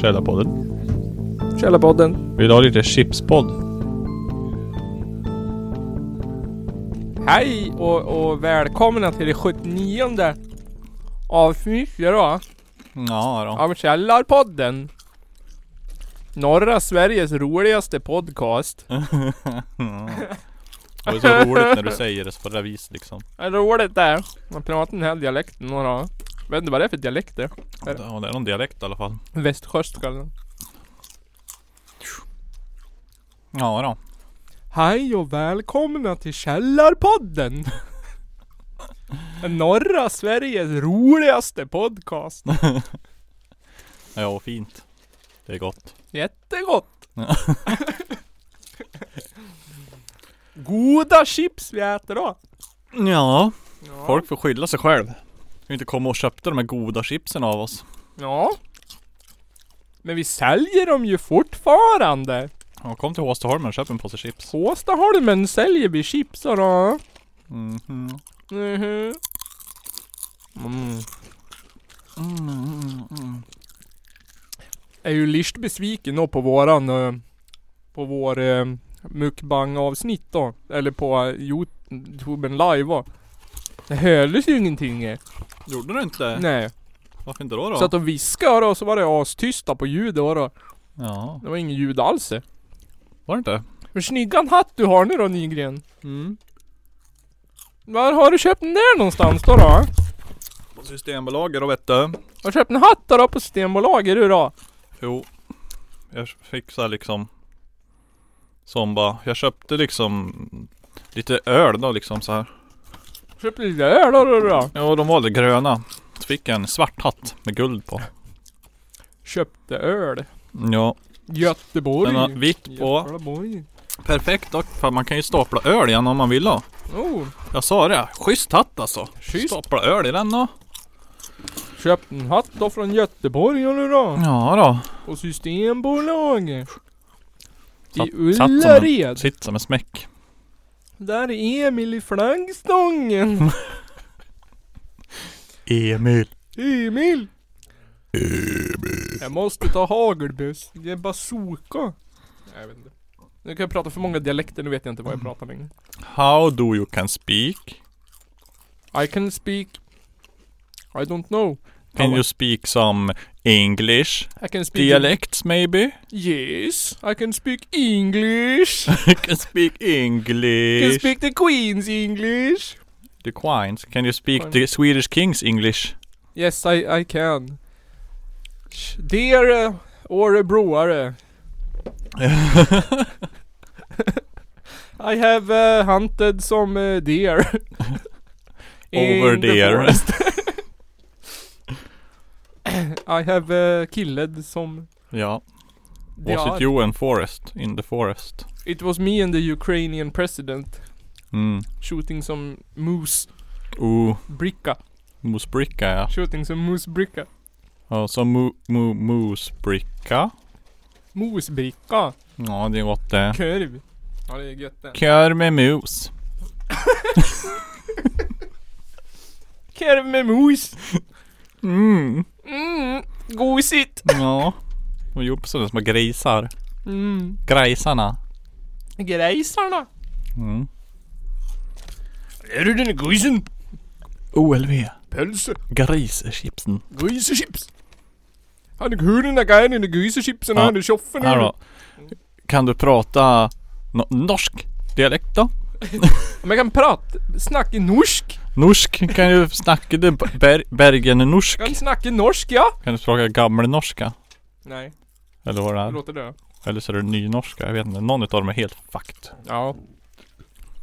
Källarpodden. Källarpodden. Vill du ha lite chipspodd? Hej och, och välkomna till det 79 avsnittet då Ja då. av Källarpodden. Norra Sveriges roligaste podcast. Det är så roligt när du säger det på det där viset liksom. Det är roligt där. Man pratar den här dialekten några Vet inte vad det är för dialekt det. Ja, det är någon dialekt i alla fall. Västgötska eller nåt. Ja då. Hej och välkomna till Källarpodden! Norra Sveriges roligaste podcast. Ja, och fint. Det är gott. Jättegott! Ja. Goda chips vi äter då! Ja. Ja. Folk får skylla sig själv. Kan ju inte komma och köpte de här goda chipsen av oss. Ja. Men vi säljer dem ju fortfarande! Ja, kom till Håstaholmen och köp en påse chips. Håstaholmen säljer vi chips och då. Mhm. Mhm. Mm. Mm, mm, mm. Är ju lite besviken då på våran... eh, På vår eh, mukbang avsnitt då. Eller på eh, Youtube live va. Det hördes ju ingenting. eh. Gjorde du inte? Nej. Varför inte då då? Så att de viskade då, och så var det astysta på ljudet och då. Ja. Det var ingen ljud alls. eh. Var det inte? Men snyggan hatt du har nu då Nygren. Mm. Var har du köpt den där någonstans då? då? Har På Systembolaget då vet du. du köpt en hatt då, då på Systembolaget du då? Jo. Jag fick så här liksom. Som bara. Jag köpte liksom. Lite öl då liksom så här. Köpte lite öl då, då då? Ja, de var lite gröna. Så fick jag en svart hatt med guld på. Köpte öl. Ja. Göteborg. Den har vitt på. Göteborg. Perfekt dock. För man kan ju stapla öl igen om man vill då. Oh, Jag sa det. Schysst hatt alltså. Schysst. Stapla öl i den då. köpte en hatt då från Göteborg ja, nu då. Ja då. Och Systembolaget. Satt- I satt som en- Ullared. Sitt som en smäck. Där är Emil i flaggstången. Emil. Emil! Jag måste ta hagelbuss. Det är bazooka. Nej, Jag vet inte. Mm. Nu kan jag prata för många dialekter, nu vet jag inte vad jag pratar längre. How do you can speak? I can speak... I don't know. Can you speak some English? I can speak... Dialects maybe? Yes. I can speak English. You can speak I can English. speak the Queen's English. the Queens. Can you speak the Swedish Kings English? Yes, I, I can. Dear uh, Årebroare. I have uh, hunted some uh, deer. in Over the there. forest. I have uh, killed some ja. Was it deer. you and forest? In the forest? It was me and the Ukrainian president Mm. shooting some moose Ooh. bricka. Musbricka ja. Alltså, Shooting some moose bricka. Ja, så mu, mu, musbricka. Moose bricka. Ja, det är gott det. Kurv. Ja det är gött det. Kör med mus. Kurv med mos. Mm. Mm, gosigt. Ja. De är gjorda på sådana små grisar. Mm. Grisarna. Grejsarna. Mm. Är du den grisen? OLV. Pölse. Grischipsen. Grisechips. Han är hur den där grejen i grisechipsen Ja. han är tjoffen. Här då. Mm. Kan du prata no- norsk dialekt då? Men jag kan prata, snacka norsk. Norsk kan ju snacka det ber Bergen norsk. Jag kan snacka norsk ja. Kan du prata gammelnorska? Nej, Eller vad det det är. låter det. Eller så är det nynorska. Jag vet inte. Någon utav dem är helt fucked. Ja.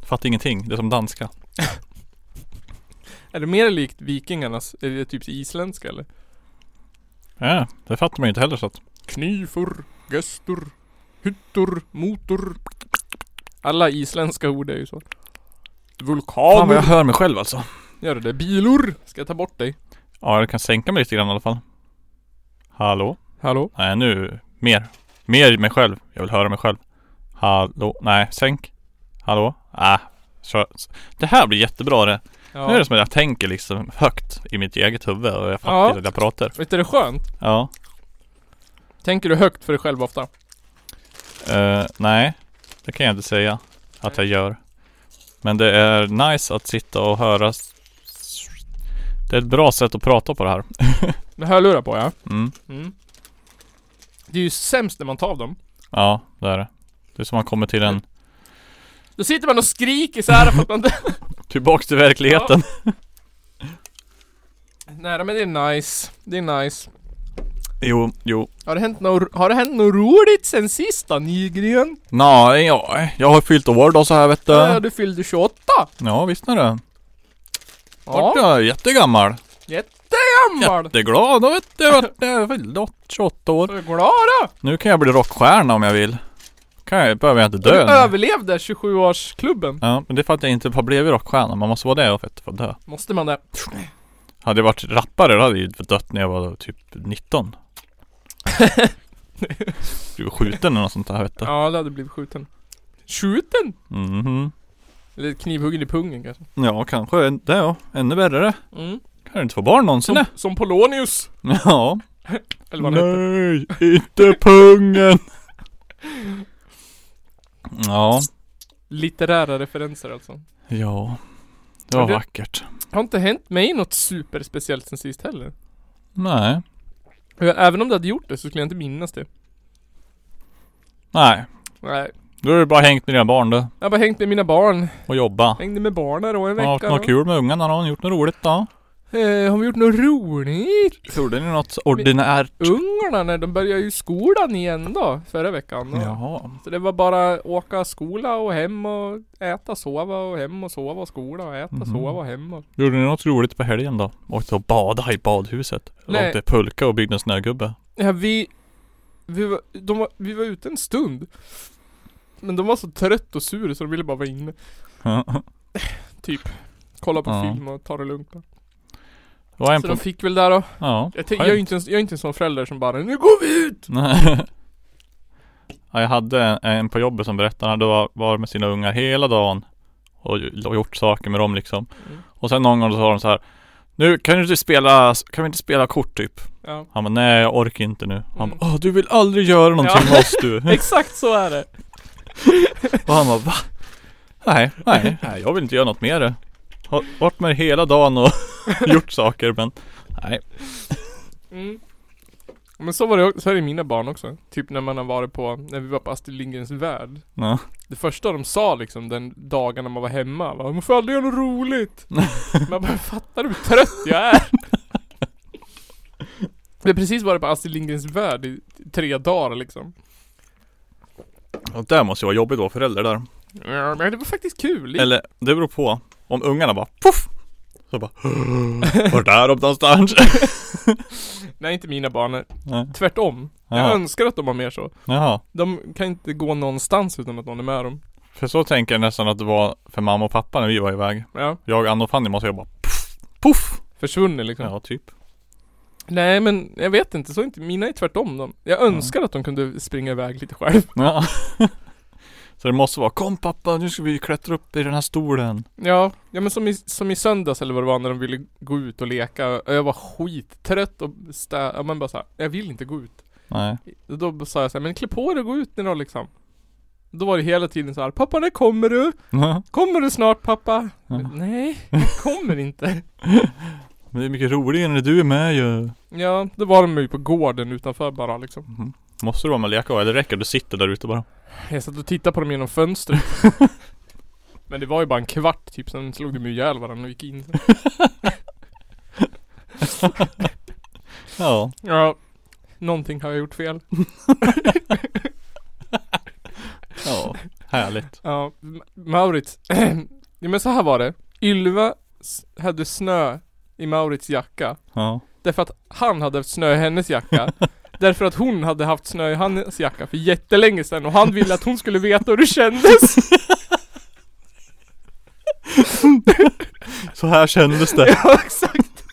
Fattar ingenting. Det är som danska. Är det mer likt vikingarnas? Är det typ isländska eller? Ja, det fattar man ju inte heller så att. Knyfur, göstur, hyttor, motor. Alla isländska ord är ju så. Fan vad jag Vulkaner. hör mig själv alltså. Gör det där. Bilor. Ska jag ta bort dig? Ja, jag kan sänka mig lite grann i alla fall. Hallå? Hallå? Nej, nu. Mer. Mer mig själv. Jag vill höra mig själv. Hallå? Nej, sänk. Hallå? Ah. Kör. Det här blir jättebra det. Nu är Ja. det som att jag tänker liksom högt i mitt eget huvud och jag fattar Ja. inte att jag pratar. Visst är det skönt? Ja. Tänker du högt för dig själv ofta? Eh, nej, det kan jag inte säga att jag gör. Men det är nice att sitta och höra. s- Det är ett bra sätt att prata på det här. Med hörlurar på ja. Mm. Mm. Det är ju sämst när man tar av dem. Ja, det är det. Det är som att man kommer till en Då sitter man och skriker så här för att man... Tillbaks till verkligheten. Nej men det är nice. Det är nice. Jo, jo. Har det hänt något, har det hänt något roligt sen sista Nygren? Nej, ja, jag har fyllt år då så här vet Ja, du. du fyllde 28. Ja, visst är det. Vart Ja, jag jättegammal. gammal. Jätteglad då vet du. Vart jag fyllde åt- 28 år. Så glad då. Nu kan jag bli rockstjärna om jag vill. Kan jag, behöver jag inte dö. Du nu. överlevde 27-årsklubben. Ja, men det är för att jag inte har blivit rockstjärna. Man måste vara det för att få dö. Måste man det? Hade jag varit rappare då hade jag ju dött när jag var typ 19. Du var skjuten eller något sånt där vet du. Ja, det hade blivit skjuten. Skjuten? Mhm. Eller knivhuggen i pungen kanske. Ja, kanske det ja. Ännu värre. Mm. Kan du inte få barn någonsin? Som, ne? som Polonius. Ja. Eller vad han heter. Nej, inte pungen! ja, Litterära referenser alltså. ja. Det var Men du- vackert. har inte hänt mig något superspeciellt sen sist heller. Nej. Även om du hade gjort det så skulle jag inte minnas det. Nej. Nej. Då har du bara hängt med dina barn du. Jag har bara hängt med mina barn. Och jobba. Hängde med barnen då en Har vecka. haft något kul med ungarna? Har ni gjort något roligt då? Eh, har vi gjort något roligt? Gjorde ni något ordinärt? Ungarna när de började ju skolan igen då, förra veckan. Då. Jaha. Så det var bara åka skola och hem och äta, sova och hem och sova och skola och äta, Mhm. sova och hem och... Gjorde ni något roligt på helgen då? Åkte och badade i badhuset? Nej. Nej. Åkte pulka och byggde en snögubbe? Ja, vi... Vi var, de var, vi var ute en stund. Men de var så trött och sur så de ville bara vara inne. Typ. Kolla på Ja. film och ta det lugnt. då. Det var en Så på... de fick väl där då. Ja. Jag, tänk- jag, är ju inte en, jag är inte en sån förälder som bara Nu går vi ut! Nej. ja, jag hade en, en på jobbet som berättade att han hade var- varit med sina ungar hela dagen och, ju- och gjort saker med dem liksom. Mm. Och sen någon gång så sa de så här Nu kan du inte spela, kan vi inte spela kort typ? Ja. Han bara nej jag orkar inte nu. Han bara Mm. Åh, du vill aldrig göra någonting Ja. med oss du. Exakt så är det. och han bara va? Nej, nej, nej jag vill inte göra något med det. Har varit med hela dagen och gjort saker men nej. Mm. Men så var det också- så är det i mina barn också. Typ när man har varit på, när vi var på Astrid Lindgrens Värld. Ja. Det första de sa liksom den dagen när man var hemma var Man får aldrig göra något roligt. man bara fattar du hur trött jag är? Vi har precis varit på Astrid Lindgrens Värld i tre dagar liksom. Och där måste jag vara jobbigt att vara förälder där. Ja, Men det var faktiskt kul. Eller det beror på. Om ungarna bara poff! Så bara Var där upp någonstans? Nej inte mina barn, Nej. tvärtom. Jag Jaha. önskar att de var mer så. Jaha. De kan inte gå någonstans utan att någon är med dem. För så tänker jag nästan att det var för mamma och pappa när vi var iväg. Ja, Jag, Anna och Fanny måste jag bara poff! Poff! försvunnen liksom. Ja, typ. Nej men jag vet inte, så är inte, mina är tvärtom dem. Jag önskar att de kunde springa iväg lite själv. Ja. Så det måste vara Kom pappa, nu ska vi klättra upp i den här stolen. Ja, ja men som i, som i söndags eller vad det var när de ville gå ut och leka. Och Jag var skittrött och stä- ja, men bara så här, jag vill inte gå ut. Nej. Och Då sa jag så här, men klä på dig och gå ut nu då liksom. Då var det hela tiden så här, pappa när kommer du? Ja. Kommer du snart pappa? Ja. Nej, jag kommer inte. Men det är mycket roligare när du är med ju. Ja, då var de ju på gården utanför bara liksom. Mm. Måste du vara med och leka va? eller räcker det att du sitter där ute bara? Jag satt och tittade på dem genom fönstret. Men det var ju bara en kvart typ, sen slog de ju ihjäl varandra och gick in. Ja. Ja, någonting har jag gjort fel. Ja. Härligt. Ja, M- Maurits. ja, men så här var det. Ylva s- hade snö i Maurits jacka. Ja. Därför att han hade haft snö i hennes jacka. Därför att hon hade haft snö i hans jacka för jättelänge sedan och han ville att hon skulle veta hur det kändes. Så här kändes det. ja, exakt.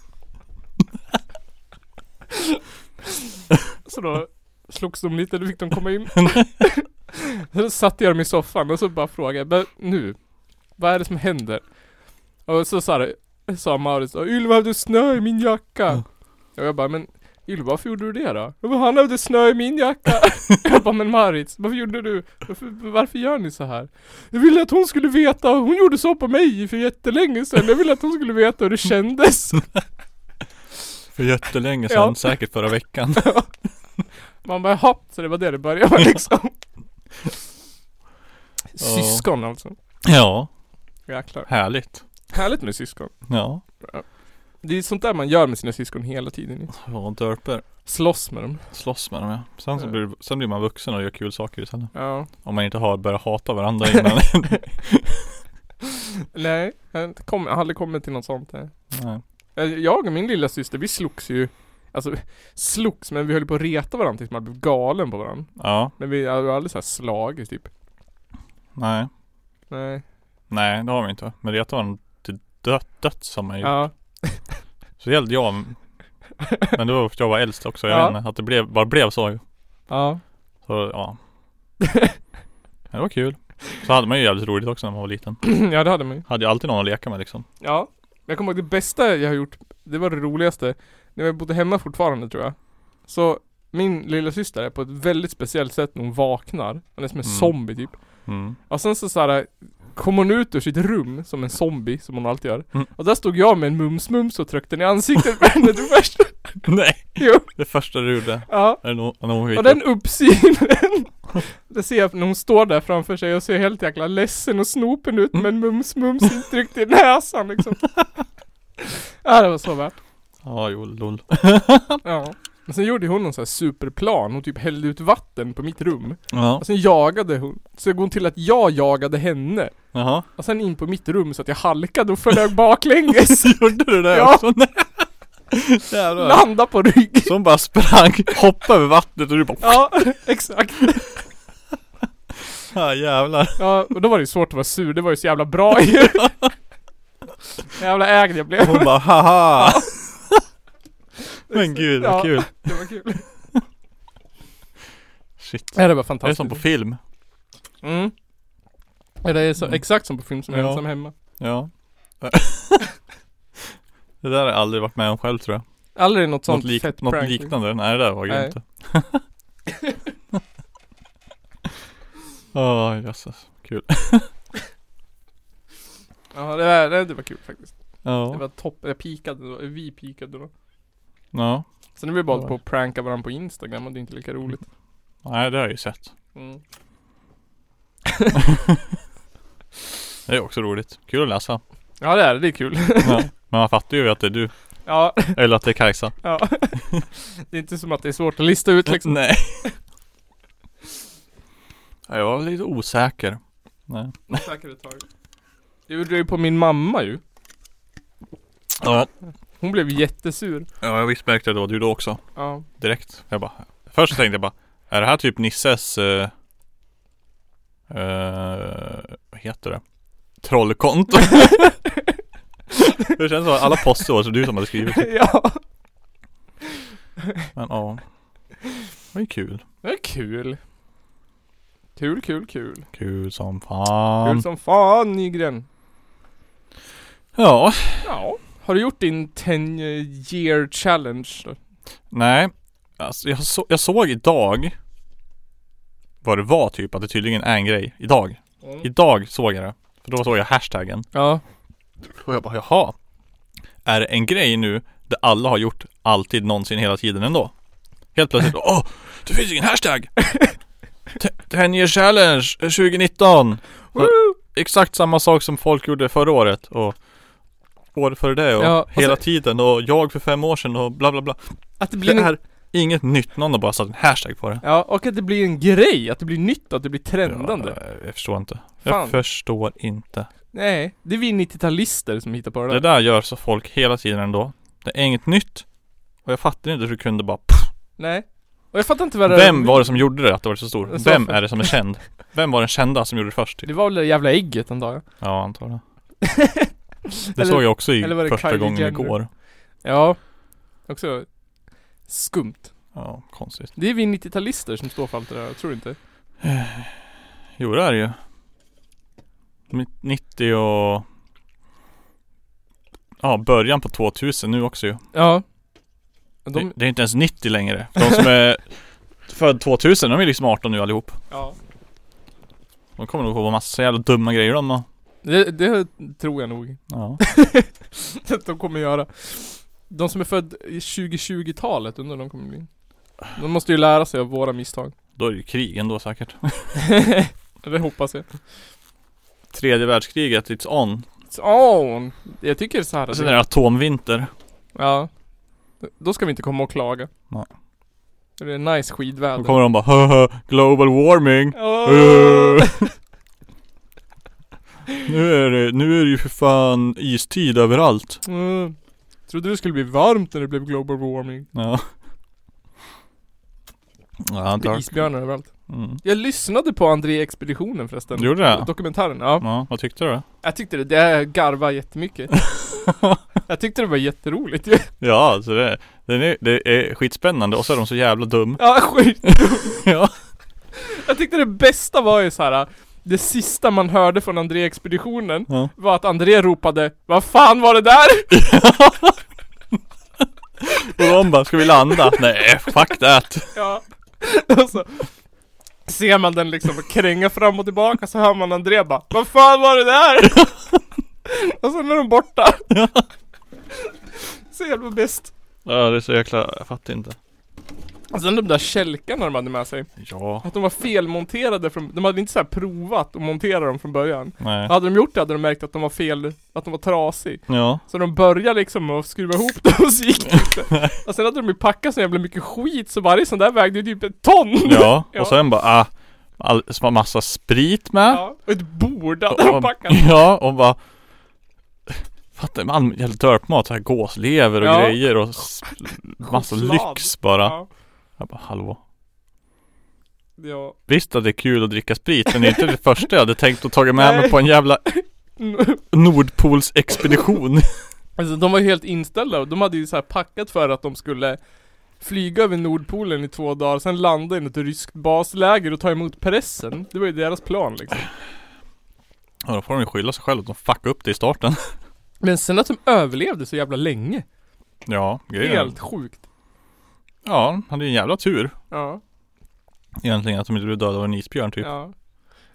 så då slogs de lite, då fick de komma in. Sen satte jag dem i soffan och så bara frågade jag, "Men nu, vad är det som händer? Och så sa det, sa Maurits då, Ylva hade snö i min jacka. Ja. Och jag bara, men Ylva varför gjorde du det då? Jag bara, han hade snö i min jacka. jag bara, men Maurits, varför gjorde du? Varför, varför gör ni så här? Jag ville att hon skulle veta, hon gjorde så på mig för jättelänge sedan. Jag ville att hon skulle veta hur det kändes. För jättelänge sedan, Ja. säkert förra veckan. Man bara, jaha, så det var det det började med liksom. syskon alltså. Ja, Jäklar. härligt. Härligt med syskon. Ja, Det är sånt där man gör med sina syskon hela tiden. och dörper. Slåss med dem. Slåss med dem ja. Sen, så Ja. blir, sen blir man vuxen och gör kul saker istället. Ja. Om man inte har börjat hata varandra innan. Nej, jag har inte kom, jag har aldrig kommit till något sånt. nej. Nej. Eh, Jag och min lilla syster, vi slogs ju Alltså slogs, men vi höll på att reta varandra tills man blev galen på varandra. Ja, Men vi hade aldrig såhär slagits typ. nej. Nej. Nej, det har vi inte. Men retar varandra till dö- döds har man ju. Ja. Så det gällde jag. Men det var för att jag var äldst också. Jag Ja. vet inte, att det blev, bara blev så ju. Ja. Så ja. Men det var kul. Så hade man ju jävligt roligt också när man var liten. ja, det hade man ju. Hade ju alltid någon att leka med liksom. Ja. Jag kommer ihåg det bästa jag har gjort, det var det roligaste. När jag bodde hemma fortfarande tror jag. Så min lilla syster är på ett väldigt speciellt sätt när hon vaknar. Hon är som en Mm. zombie typ. Mm. Och sen så såhär Kom hon ut ur sitt rum som en zombie, som hon alltid gör. Mm. Och där stod jag med en mums-mums och tryckte den i ansiktet på henne. Det värsta. Nej! Jo. Det första du gjorde. Ja. När hon- när hon gick Och upp. den uppsynen. Det ser jag när hon står där framför sig och ser helt jäkla ledsen och snopen ut med en mums-mums tryckt i näsan liksom. Ja det var så värt. Ja, jo, lol. Ja. Men sen gjorde hon någon sån här superplan. Hon typ hällde ut vatten på mitt rum. Ja. Och sen jagade hon. Så det går till att jag jagade henne. Jaha. Och sen in på mitt rum så att jag halkade och flög baklänges. Gjorde du det Ja. också? Nej. Jävlar. Landa på rygg. Så hon bara sprang, hoppade över vattnet och du bara Ja, exakt. ah, jävlar. Ja, och då var det ju svårt att vara sur. Det var ju så jävla bra ju. jävla ägd jag blev. Och hon bara haha. Men gud vad Ja. kul. Det var kul. Shit. alltså. Ja, det var Det är fantastiskt. som på film. Mm. Ja, det är så, Mm. exakt som på film som är Ja. ensam hemma. Ja. det där har jag aldrig varit med om själv tror jag. Aldrig något sånt Något, lik- fett något prank. liknande? Nej det där var Nej. grymt. Åh jösses. Kul. Ja, det, där, det, det var kul faktiskt. Det Ja. var topp, jag pikade då, vi pikade då. Ja. Sen är vi bara Ja. på att pranka varandra på Instagram och det är inte lika roligt. Nej det har jag ju sett. Mm. Det är också roligt. Kul att läsa. Ja det är det, det är kul. Ja. Men man fattar ju att det är du. ja, Eller att det är Kajsa. ja. det är inte som att det är svårt att lista ut liksom. Nej. Ja, jag var lite osäker. Nej. Säkert ett tag. Det gjorde jag ju på min mamma ju. Ja. Hon blev jättesur. Ja jag visst märkte att det var du då också. Ja. direkt. Jag bara, först tänkte jag bara, är det här typ Nisses, eh, eh, vad heter det? Trollkonto? det känns som att alla poster var så du som hade skrivit. ja. Men ja. Det var ju kul. Det är kul. Kul, kul, kul. Kul som Kul fan. som fan Nygren. Ja. Ja. Har du gjort din 10 year challenge då? Nej. Alltså, jag, så, jag såg idag vad det var typ, att det tydligen är en grej. Idag. Mm. Idag såg jag det. För då såg jag hashtaggen. Ja. Och jag bara jaha Är det en grej nu där alla har gjort alltid någonsin hela tiden ändå? Helt plötsligt, åh! Det finns ingen hashtag! T- 10 year challenge 2019! Woo! Exakt samma sak som folk gjorde förra året och året före det och Ja, och hela så- tiden och jag för fem år sedan och bla bla bla Att det blir Det en... här, inget nytt, någon har bara satt en hashtag på det Ja, och att det blir en grej. Att det blir nytt, att det blir trendande. Jag, jag förstår inte Fan. Jag förstår inte Nej, det är vi 90-talister som hittar på det Det där. där gör så folk hela tiden ändå Det är inget nytt Och jag fattar inte hur du kunde bara pff, Nej. Och jag fattar inte vad det Vem var det som gjorde det att det var så stor? Så Vem för- är det som är känd? Vem var den kända som gjorde det först? Typ? Det var väl det jävla ägget antar jag. Ja, antar det. Det Eller- såg jag också i eller var det första Kylie gången Jenner? igår. Ja. Också skumt. Ja, konstigt. Det är vi 90-talister som står för allt det där, jag tror inte. Jo, det är det ju. Mitt 90 och ja, början på 2000 nu också ju. Ja. Det, De, det är inte ens 90 längre. De som är född 2000, de är liksom 18 nu allihop. ja. De kommer nog på massa jävla dumma grejer de och, Det, det tror jag nog ja. att de kommer göra. De som är född i 2020-talet, undrar de kommer bli. De måste ju lära sig av våra misstag. Då är det ju krig ändå säkert. det hoppas jag. Tredje världskriget, it's on. It's on! Jag tycker så här. Och sen är det atomvinter. Ja. Då ska vi inte komma och klaga. Nej. Det är nice skidväder. Då kommer de bara haha, global warming. Åh! Nu är det, nu är det ju för fan istid överallt. Mm. Trodde det skulle bli varmt när det blev global warming. Ja. Ja, Det är tack. isbjörnar överallt. Mm. Jag lyssnade på André-expeditionen förresten. Du gjorde det? Dokumentären, ja. Ja, vad tyckte du? Jag tyckte det, det garva jättemycket. jag tyckte det var jätteroligt ju. Ja, alltså det, den är, det är skitspännande och så är de så jävla dum. Ja, skit. Ja. Jag tyckte det bästa var ju så här. Det sista man hörde från André-expeditionen Ja. var att André ropade Vad fan var det där? Och de bara, ska vi landa? Nej, fuck that. Ja. Och så ser man den liksom kränga fram och tillbaka så hör man André bara Vad fan var det där? och sen är de borta. så jävla bäst. Ja, det är så jäkla, jag fattar inte. Och sen de där kälkarna de hade med sig. Ja, Att de var felmonterade från, de hade inte så här provat att montera dem från början. nej. Hade de gjort det hade de märkt att de var fel, att de var trasig. Ja. Så de började liksom att skruva ihop dem och så gick det inte. Och sen hade de ju packat så jävla mycket skit så varje sån där vägde ju typ ett ton. Ja, Ja. och sen bara, ah, all, så var massa sprit med. Ja, och ett bord Och- hade de och- packat. Ja, och bara Fattar man, jävla dörpmat, så här gåslever och Ja. grejer och s- massa Choklad. lyx bara. Ja. Jag bara, hallå. ja. Visst att det är kul att dricka sprit, men det är inte det första jag hade tänkt att ta med mig Nej. på en jävla Nordpolsexpedition. Alltså de var ju helt inställda och de hade ju så här packat för att de skulle flyga över Nordpolen i två dagar, sen landa i något ryskt basläger och ta emot pressen. Det var ju deras plan liksom. Ja, då får de ju skylla sig själva att de fuckade upp det i starten. Men sen att de överlevde så jävla länge. Ja, grejen. Helt sjukt. Ja, de hade ju en jävla tur Ja, egentligen att de inte blev dödade av en isbjörn typ. ja.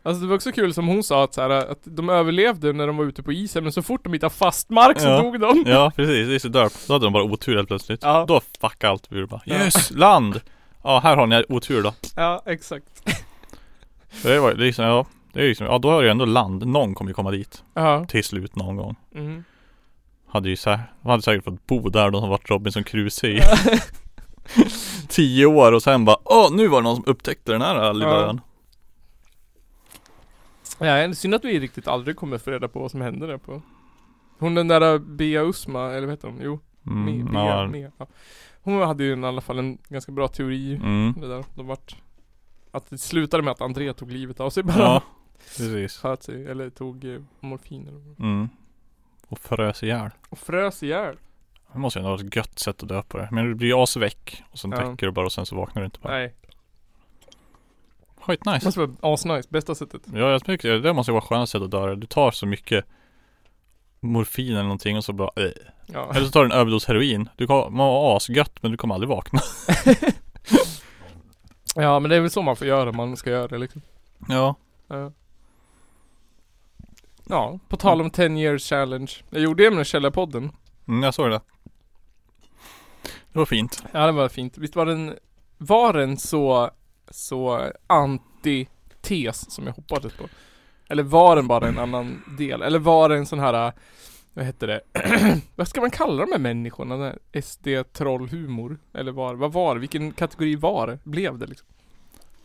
Alltså det var också kul som hon sa att så här, att de överlevde när de var ute på isen men så fort de hittade fast mark så Ja. dog de. Ja, precis. Det är så dörp. Då hade de bara otur helt plötsligt. Ja. Då fuckade allt ur bara. Ja. Yes, land! Ja, här har ni otur då. Ja, exakt. Det var det är liksom, ja. Det är liksom, ja då är det ju ändå land. Någon kommer ju komma dit. Ja. Till slut någon gång. Mm. Hade ju så här, de hade säkert fått bo där de som varit Robinson Crusoe i tio år och sen bara Åh nu var det någon som upptäckte den här lilla Ja. ön. Ja, synd att vi riktigt aldrig kommer få reda på vad som hände där på Hon den där äh, Bea Usma, eller vad heter hon? Jo, Me, Mm, Bea, ja. Mea, ja. Hon hade ju i alla fall en ganska bra teori Mm. det där, de vart Att det slutade med att André tog livet av sig bara ja, precis. Sköt sig, eller tog eh, morfin eller vad. Mm. Och frös ihjäl. Och frös ihjäl Det måste ju ändå vara ett gött sätt att dö på det. Men du blir ju asväck och sen Ja. täcker du bara och sen så vaknar du inte bara. Nej, det Skitnice. måste vara asnice, bästa sättet Ja jag tycker det där måste ju vara skönt sätt att dö. Du tar så mycket morfin eller någonting och så bara eh. Ja, Eller så tar du en överdos heroin. Du kommer ha asgött men du kommer aldrig vakna. ja men det är väl så man får göra, man ska göra det liksom Ja. Ja. Ja, på tal om 10 years challenge Jag gjorde det med den källarpodden Mm, jag såg det. Det var fint. Ja det var fint. Visst var den, var den så, så antites som jag hoppades på? Eller var den bara en annan del? Eller var det en sån här, äh, vad hette det? vad ska man kalla de här människorna? Den här SD-trollhumor? Eller var, vad var det? Vilken kategori var det? Blev det liksom?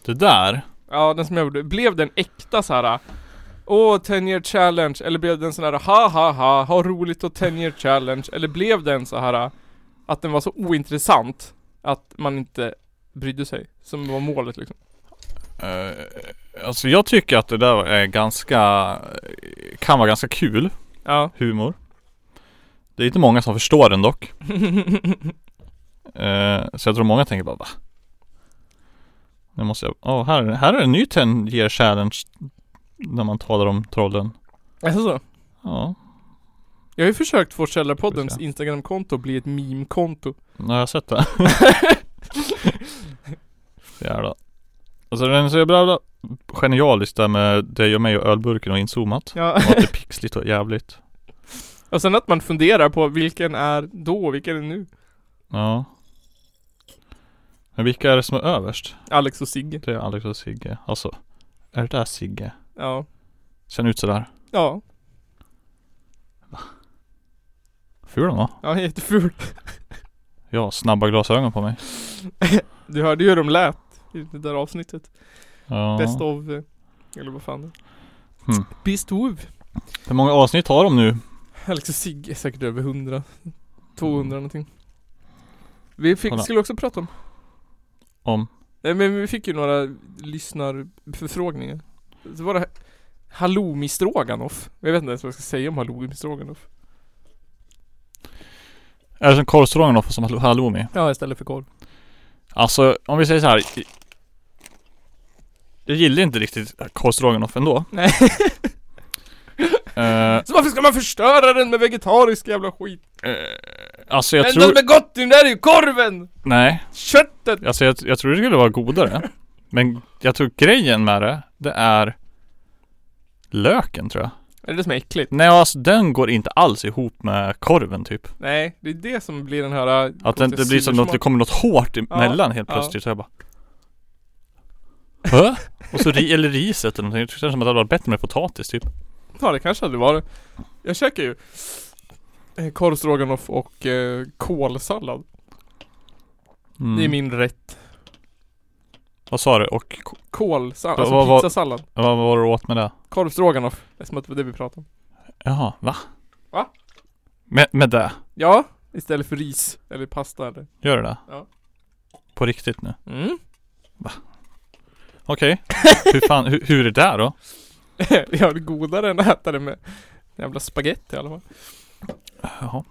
Det där. Ja den som jag gjorde, blev den äkta så här äh, Åh, 10 year challenge, eller blev den sån här ha ha ha, ha roligt och 10 year challenge, eller blev den så här äh, att den var så ointressant att man inte brydde sig, som var målet liksom? Eh, alltså jag tycker att det där är ganska, kan vara ganska kul Ja. humor. Det är inte många som förstår den dock. Eh, så jag tror många tänker bara va? Nu måste jag, åh här, här är en ny 10 year challenge. När man talar om trollen. alltså, Ja. Jag har ju försökt få Källarpoddens Får vi Instagramkonto att bli ett meme-konto. Ja, jag har sett det. Jävlar. Alltså den är så jävla genialisk där med dig och mig och ölburken och inzoomat. Ja. Och att det är pixligt och jävligt. Och sen att man funderar på vilken är då och vilken är nu. Ja. Men vilka är det som är överst? Alex och Sigge. Det är Alex och Sigge. Alltså, är det där Sigge? Ja. Ser han ut sådär? Ja. Ful han var. Ja, jätteful. Jag har snabba glasögon på mig. Du hörde ju hur de lät i det där avsnittet. Ja. Best of... eh, Eller vad fan det är. Hmm. Best of. Hur många avsnitt har de nu? Alex och Sigge är säkert över 100. 200 någonting. Vi fick, Mm. Kolla. skulle också prata om. Om? Nej men vi fick ju några lyssnarförfrågningar. Så var det här- halloumi stroganoff. Jag vet inte ens vad jag ska säga om halloumi stroganoff. Är det som korvstroganoff och som hall- halloumi? Ja istället för korv. Alltså om vi säger så här. Jag gillar inte riktigt korvstroganoff ändå. Nej. Eh, Så varför ska man förstöra den med vegetarisk jävla skit? alltså jag Men tror... de är gott i den där är ju korven! Nej. Köttet! Alltså jag, jag tror det skulle vara godare. Men jag tror grejen med det, det är löken tror jag. Är det det som är äckligt? Nej alltså den går inte alls ihop med korven typ. Nej, det är det som blir den här... Att det inte blir som något, det kommer något hårt emellan helt ja. plötsligt. Så jag bara... Hö? Och så ri, eller riset eller någonting. Det känns som att det hade varit bättre med potatis typ. Ja det kanske hade varit. Jag käkar ju eh, korv stroganoff och eh, kålsallad. Mm. Det är min rätt. Vad sa du? Och k- Kålsallad, Vad- alltså vad- vad- pizzasallad. vad var du åt med det? Korv stroganoff. Eftersom att det var det vi pratade om. Jaha, va? Va? Med, med det? Ja, istället för ris eller pasta eller. Gör du det? Ja. På riktigt nu? Mm. Okej. hur fan, hur, hur är det där då? jag har det godare än att äta det med jävla spaghetti i alla fall. Jaha.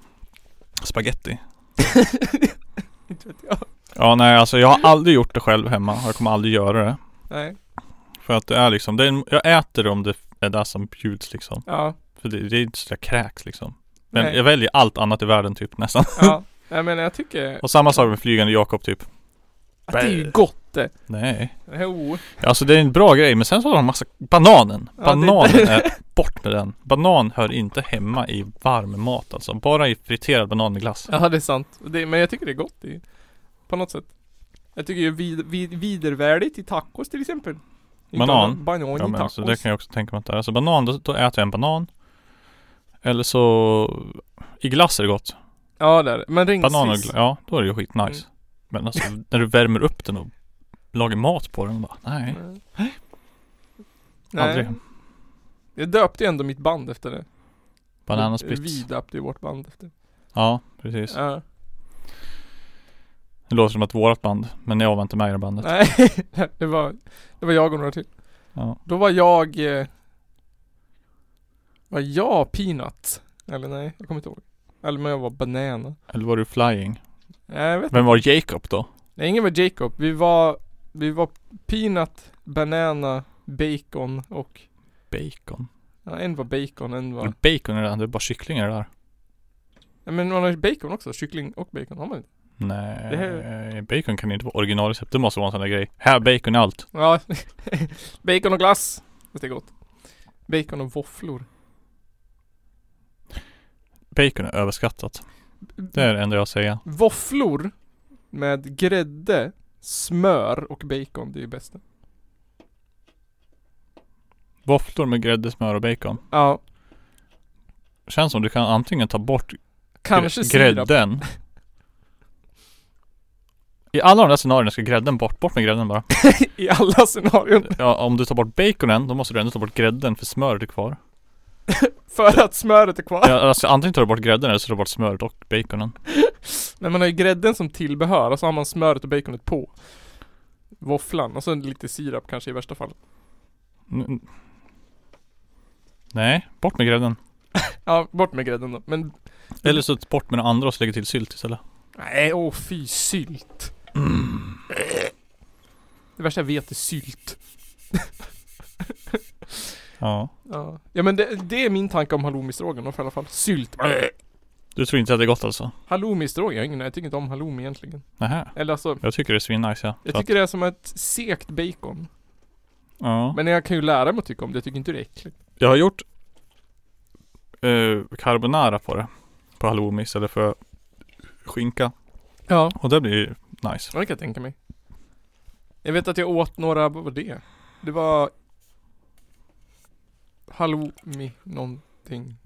Spaghetti. Inte vet jag. Ja, nej alltså jag har aldrig gjort det själv hemma. och Jag kommer aldrig göra det. Nej. För att det är liksom, det är, en- jag äter det om det är det som bjuds liksom. Ja. För det, det är inte så jag kräks liksom. Men Nej. jag väljer allt annat i världen typ nästan. Ja. Nej men jag tycker Och samma sak med flygande Jakob typ. att det är ju gott det. Nej. Jo. Alltså det är en bra grej men sen så har de massa Bananen! Ja, det- Bananen är bort med den! Banan hör inte hemma i varm mat alltså, bara i friterad banan med glass Ja det är sant. Det, men jag tycker det är gott i, på något sätt. Jag tycker ju vid, vid, vidervärdigt i tacos till exempel. Inte Banan? alla- Banan Ja i men tacos. alltså, det kan jag också tänka mig att det är. Alltså banan, då, då äter jag en banan Eller så I glass är det gott Ja det är det. Men Banan och regnsviss. glass, ja då är det ju skitnice Mm. Men alltså när du värmer upp den och lagar mat på den bara, nej, Nej. aldrig Nej. Jag döpte ju ändå mitt band efter det. Banan och Vi splits döpte ju vårt band efter. Ja, precis Ja. Det låter som att vårat band, men jag var inte med i det bandet Nej, det var, det var jag och några till. Ja. Då var jag... eh, Var jag Peanut? Eller nej, jag kommer inte ihåg. Eller men jag var Banana. Eller var du flying? Nej, jag vet Vem var Jacob då? Nej, ingen var Jacob. Vi var, vi var Peanut, Banana, Bacon och... Bacon Ja, en var Bacon, en var... Eller bacon är det, det är bara kycklingar det där Ja, men man har ju bacon också. Kyckling och bacon har man inte. Nej, Det bacon kan inte vara originalrecept. Det måste vara en sån där grej. Här, bacon är allt. Ja, bacon och glass. Fast det är gott. Bacon och våfflor. Bacon är överskattat. Det är det enda jag säger. Våfflor med grädde, smör och bacon, det är ju bäst. Våfflor med grädde, smör och bacon. Ja, Känns som du kan antingen ta bort gr- kanske sirap. grädden. I alla de där scenarierna ska grädden bort. Bort med grädden bara. I alla scenarion. Ja, om du tar bort baconen, då måste du ändå ta bort grädden för smöret är kvar. För att smöret är kvar. Ja, alltså, antingen tar du bort grädden eller så tar du bort smöret och baconen. Men man har ju grädden som tillbehör och så har man smöret och baconet på. Våfflan och så lite sirap kanske i värsta fall. N- n- Nej, bort med grädden. Ja, bort med grädden då. Men Eller så bort med det andra och så lägger till sylt istället. nej, åh fy sylt. Det värsta jag vet är sylt. Ja. Ja, ja men det, det är min tanke om halloumi-stroganoff i alla fall. Sylt. Bleh. Du tror inte att det är gott alltså? Halloumi-stroganoff, jag, har ingen- jag tycker inte om halloumi egentligen. Nähä. Eller alltså, Jag tycker det är svinnice ja. jag Så att- tycker det är som ett segt bacon. ja. Men jag kan ju lära mig att tycka om det, jag tycker inte det är äckligt. Jag har gjort eh, carbonara på det. På halloumi istället för skinka. Ja. Och det blir ju nice. Ja, det kan jag tänka mig. Jag vet att jag åt några, vad var det? Det var halloumi någonting.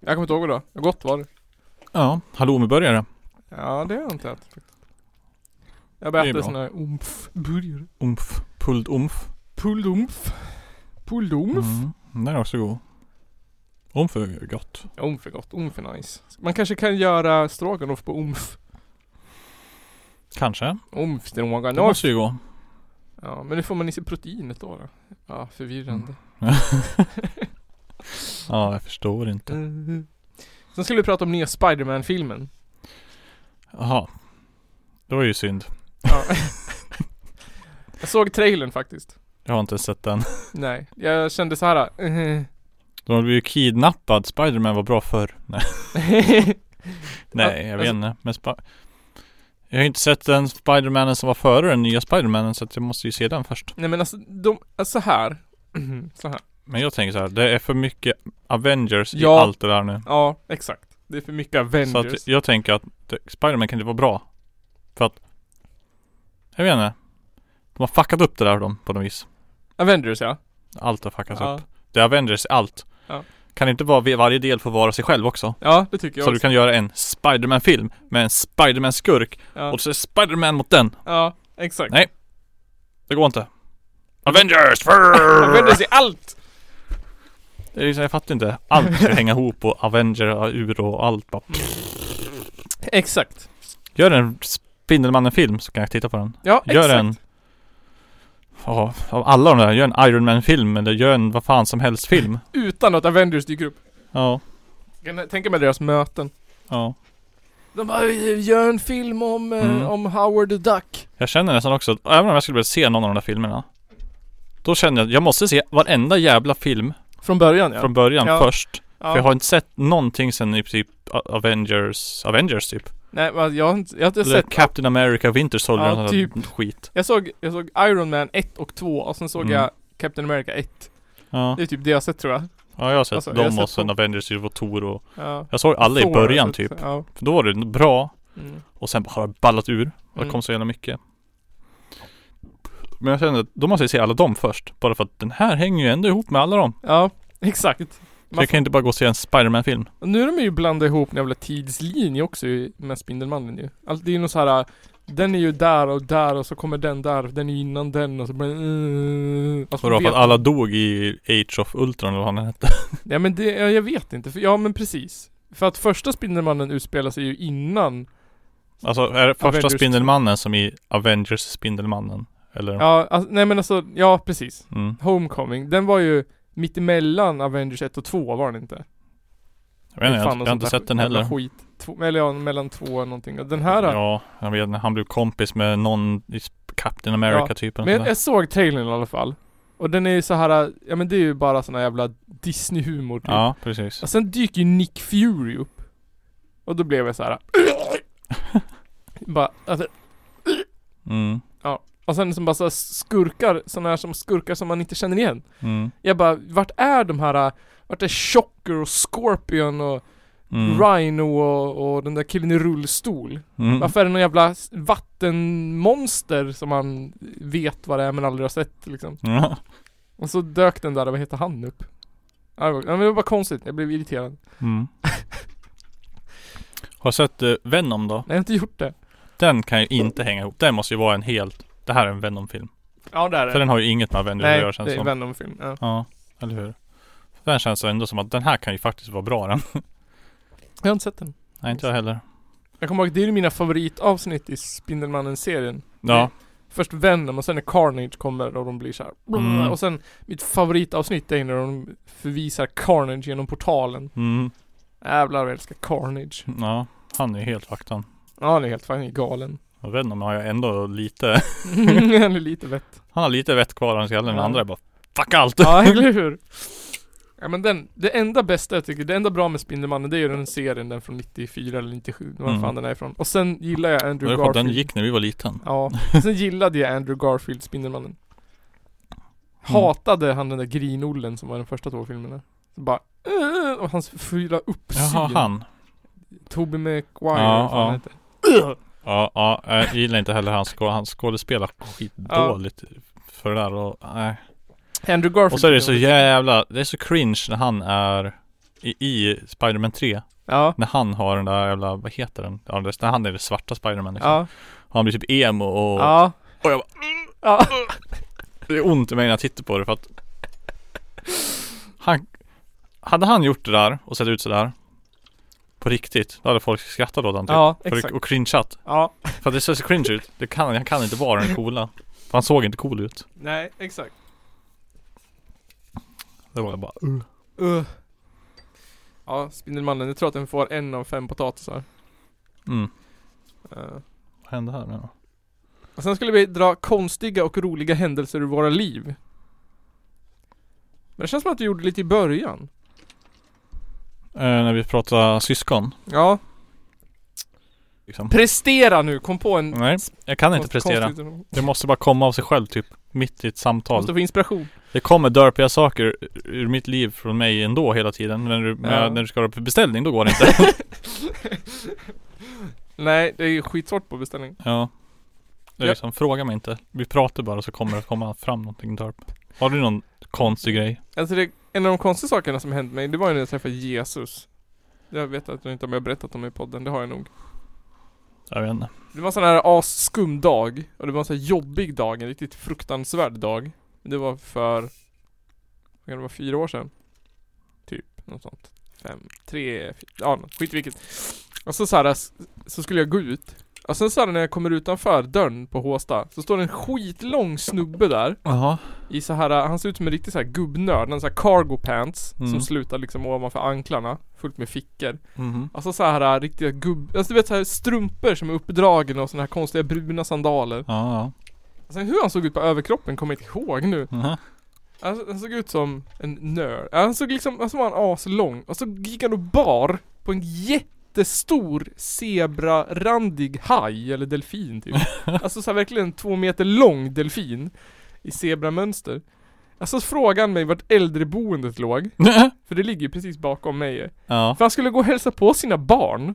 Jag kommer inte ihåg vad det var. Vad Gott var det. Ja, halloumiburgare. Ja, det har jag inte ätit faktiskt. Det Jag är bara ätit bra. sån här umf-burgare. Umf. Pulled umf. Pulled umf. Pulled umf. Mm. Den är också god. Umf är gott. Umf är gott. Umf är nice. Man kanske kan göra stroganoff på umf. Kanske. Umf Det stroganoff. måste ju gå. Ja, men nu får man i sig proteinet då. då. Ja, förvirrande. Ja, jag förstår inte. Mhm. Sen skulle vi prata om nya Spider-Man-filmen. Jaha. Det var ju synd. Ja. jag såg trailern faktiskt. Jag har inte ens sett den. Nej, jag kände så här. eh. De blev ju kidnappad. Spiderman var bra förr. Nej. Nej, jag vet alltså- inte. Men Spi- jag har ju inte sett den Spidermanen som var före den nya Spidermanen så att jag måste ju se den först. Nej men alltså, de, alltså så här. så här. Men jag tänker så här, det är för mycket Avengers i Ja. allt det där nu. Ja, exakt. Det är för mycket Så Avengers. att jag tänker att det- Spiderman kan inte vara bra. För att, jag vet inte. De har fuckat upp det där dem på något vis. Avengers ja. Allt har fuckats Ja. upp. Det är Avengers i allt. Ja. Kan inte vara, varje del få vara sig själv också? Ja, det tycker jag Så också. du kan göra en Spiderman-film med en Spiderman-skurk Ja. och så är Spiderman mot den. ja, exakt. Nej. Det går inte. Avengers! Avengers i allt! det är liksom, jag fattar inte. Allt ska hänga ihop och Avenger och Uro och allt bara. Exakt. Gör en Spindelmannen-film så kan jag titta på den. Ja, Gör exakt. en... Ja, av alla de där. Gör en Iron Man-film eller gör en vad fan som helst-film. Utan att Avengers dyker upp. Ja, Kan jag Tänka mig deras möten. ja. De bara, gör en film om, eh, Mm. om Howard the Duck. Jag känner nästan också att även om jag skulle vilja se någon av de där filmerna. Då känner jag att jag måste se varenda jävla film Från början ja. från början Ja. först. ja. För jag har inte sett någonting sen i princip Avengers, Avengers typ. Nej, men jag har inte, jag har inte Det där sett. Captain America, Winter Soldier Ja, och sånt där typ. skit. Jag såg, jag såg Iron Man 1 och 2 och sen såg Mm. jag Captain America 1. Ja. Det är typ det jag har sett tror jag. ja, jag har sett Alltså, jag har dem sett och sen dem. Avengers, Civil War och Ja. Jag såg alla i Thor har början jag sett, typ. Ja. För då var det bra Mm. och sen bara har det ballat ur. Och det Mm. kom så jävla mycket. Men jag känner att då måste jag se alla dem först. Bara för att den här hänger ju ändå ihop med alla dem. ja, exakt. Så jag kan inte bara gå och se en Spiderman-film. Och nu är de ju blandade ihop en jävla tidslinje också ju, med Spindelmannen ju. Allt, det är ju någon så här. Den är ju där och där och så kommer den där, den är ju innan den och så blir mm. alltså, Vadå, för vet, att alla dog i Age of Ultron eller vad han hette. Ja men det, ja, jag vet inte. För, ja men precis. För att första Spindelmannen utspelar sig ju innan. Alltså är det första Avengers. Spindelmannen som i Avengers Spindelmannen? Eller? Ja, alltså, nej men alltså, ja precis. Mm, Homecoming, den var ju mittemellan Avengers 1 och 2 var den inte? jag vet inte, Fan, jag, något jag har inte sånt där sett den jävla heller. Skit. Två, eller ja, mellan två och någonting. Och den här ja, Ja, jag vet inte. Han blev kompis med någon i Sp- Captain America typ. eller Men jag, sådär. jag såg trailern i alla fall. Och den är ju så här, ja men det är ju bara sån här jävla Disney-humor typ. Ja, precis. Och sen dyker ju Nick Fury upp. Och då blev jag så här. bara, alltså, Mm, och sen som bara så här skurkar, såna här som skurkar som man inte känner igen. mm, Jag bara, vart är de här, äh, vart är Shocker och Scorpion och mm, Rhino och, och den där killen i rullstol. mm. Varför är det någon jävla s- vattenmonster som man vet vad det är men aldrig har sett liksom? Ja. Och så dök den där, vad heter han upp? Ja, det var- ja, men det var bara konstigt, jag blev irriterad. Mm. Har du sett eh, Venom då? Nej, jag har inte gjort det. Den kan ju inte hänga ihop. Den måste ju vara en helt... Det här är en Venom-film. Ja, det är För den har ju inget med Avengers att Nej, göra känns det är som. Venom-film. Ja. Ja, eller hur? Den känns ändå som att den här kan ju faktiskt vara bra den. Jag har inte sett den. Nej, inte jag heller. Jag kommer ihåg, det är ju mina favoritavsnitt i Spindelmannen-serien. Ja, Först Venom och sen när Carnage kommer och de blir så här. Mm. Och sen mitt favoritavsnitt är när de förvisar Carnage genom portalen. mm, Jävlar vad jag älskar Carnage. ja. Han är ju helt vaktan. Ja, han är helt fan galen. Och Venom har ju ändå lite... han är lite vett. Han har lite vett kvar i hans skalle, men Ja. andra är bara Fuck allt! Ja, eller hur? Ja men den, det enda bästa jag tycker, det enda bra med Spindelmannen det är ju den serien, den från 94 eller 97, var Mm. fan den är ifrån. Och sen gillar Men jag det är Andrew skönt, Garfield. den gick när vi var liten. Ja, sen gillade jag Andrew Garfield, Spindelmannen. Hatade han den där grinollen som var i de första två filmerna. Så bara, "Åh", och hans fyra uppsyn. Jaha, han. Tobey Maguire, Ja, vad fan ja. heter. Ja, ja, jag gillar inte heller hans skå- hans skådespelar skitdåligt för det där och, nej. Andrew Garfield. Och så är det så jävla, det är så cringe när han är i, i Spider-Man 3 Ja, När han har den där jävla, vad heter den? Ja, det- när han är det svarta Spiderman liksom. ja, Han blir typ emo och, ja. och jag bara, Ja, det är ont i mig när jag tittar på det för att han, Hade han gjort det där och sett ut sådär På riktigt, då hade folk skrattat åt honom typ. ja för exakt. det, och cringeat. Ja, För att det ser så cringe ut. Det kan, han kan inte vara den coola. För han såg inte cool ut. nej exakt. Det var jag bara Uh. Ja, Spindelmannen, jag tror att den får en av fem potatisar. mm, Eh, vad hände här nu då? Och sen skulle vi dra konstiga och roliga händelser ur våra liv. Men det känns som att du gjorde lite i början. Eh, när vi pratade syskon. Ja. Liksom. Prestera nu, kom på en... Nej, Mm, jag kan inte konst- prestera. konstigt- Det måste bara komma av sig själv typ. Mitt i ett samtal. Måste få inspiration. Det kommer dörpiga saker ur mitt liv från mig ändå hela tiden. Men när du, Ja. när du ska ha det på beställning, då går det inte. Nej, det är skitsvårt på beställning. ja. Det är Ja. liksom, fråga mig inte. Vi pratar bara så kommer det komma fram någonting dörp. Har du någon konstig grej? Alltså det, en av de konstiga sakerna som hänt mig, det var ju när jag träffade Jesus. Jag vet att jag inte om jag har berättat om det i podden, det har jag nog. Jag vet inte. Det var en sån här asskum dag. Och det var en sån här jobbig dag, en riktigt fruktansvärd dag. Det var för, vad kan det vara, fyra år sedan? Typ, något sånt. Fem, tre, fy- ja något, skit i vilket. Och så så här, s- så skulle jag gå ut. Och sen så här, när jag kommer utanför dörren på Håsta, så står det en skitlång snubbe där. Jaha. I så här, han ser ut som en riktig så här gubbnörd, en sån här cargo pants. Mm. Som slutar liksom ovanför anklarna, fullt med fickor. Mhm. Alltså så här riktiga gubb... Alltså du vet så här strumpor som är uppdragna och såna här konstiga bruna sandaler. Ja, ja. Sen hur han såg ut på överkroppen kommer jag inte ihåg nu. Mhm. Alltså, han såg ut som en nörd. Han såg liksom, alltså var han aslång. Och så gick han och bar på en jättestor zebrarandig haj, eller delfin typ. Alltså så här verkligen en två meter lång delfin. I zebramönster. Alltså så frågade han mig vart äldreboendet låg. För det ligger ju precis bakom mig. Ja. För han skulle gå och hälsa på sina barn.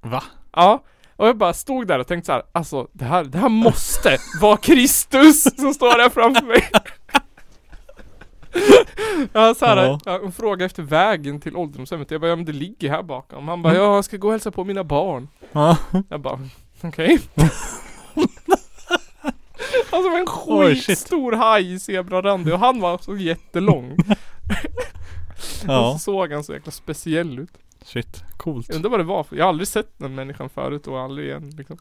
Va? Ja, och jag bara stod där och tänkte så här, alltså det här, det här måste vara Kristus som står där framför mig. Ja, så här, Ja. ja. Hon frågade efter vägen till ålderdomshemmet. Jag bara, ja men det ligger här bakom. Han Mm. bara, ja jag ska gå och hälsa på mina barn. Ja. Jag bara, okej. alltså det var en Oj, shit. skitstor haj i zebrarandig och han var så jättelång. Och ja. så såg han så jäkla speciell ut. Shit. Coolt. Jag undrar vad det var för, jag har aldrig sett den människan förut och aldrig igen liksom.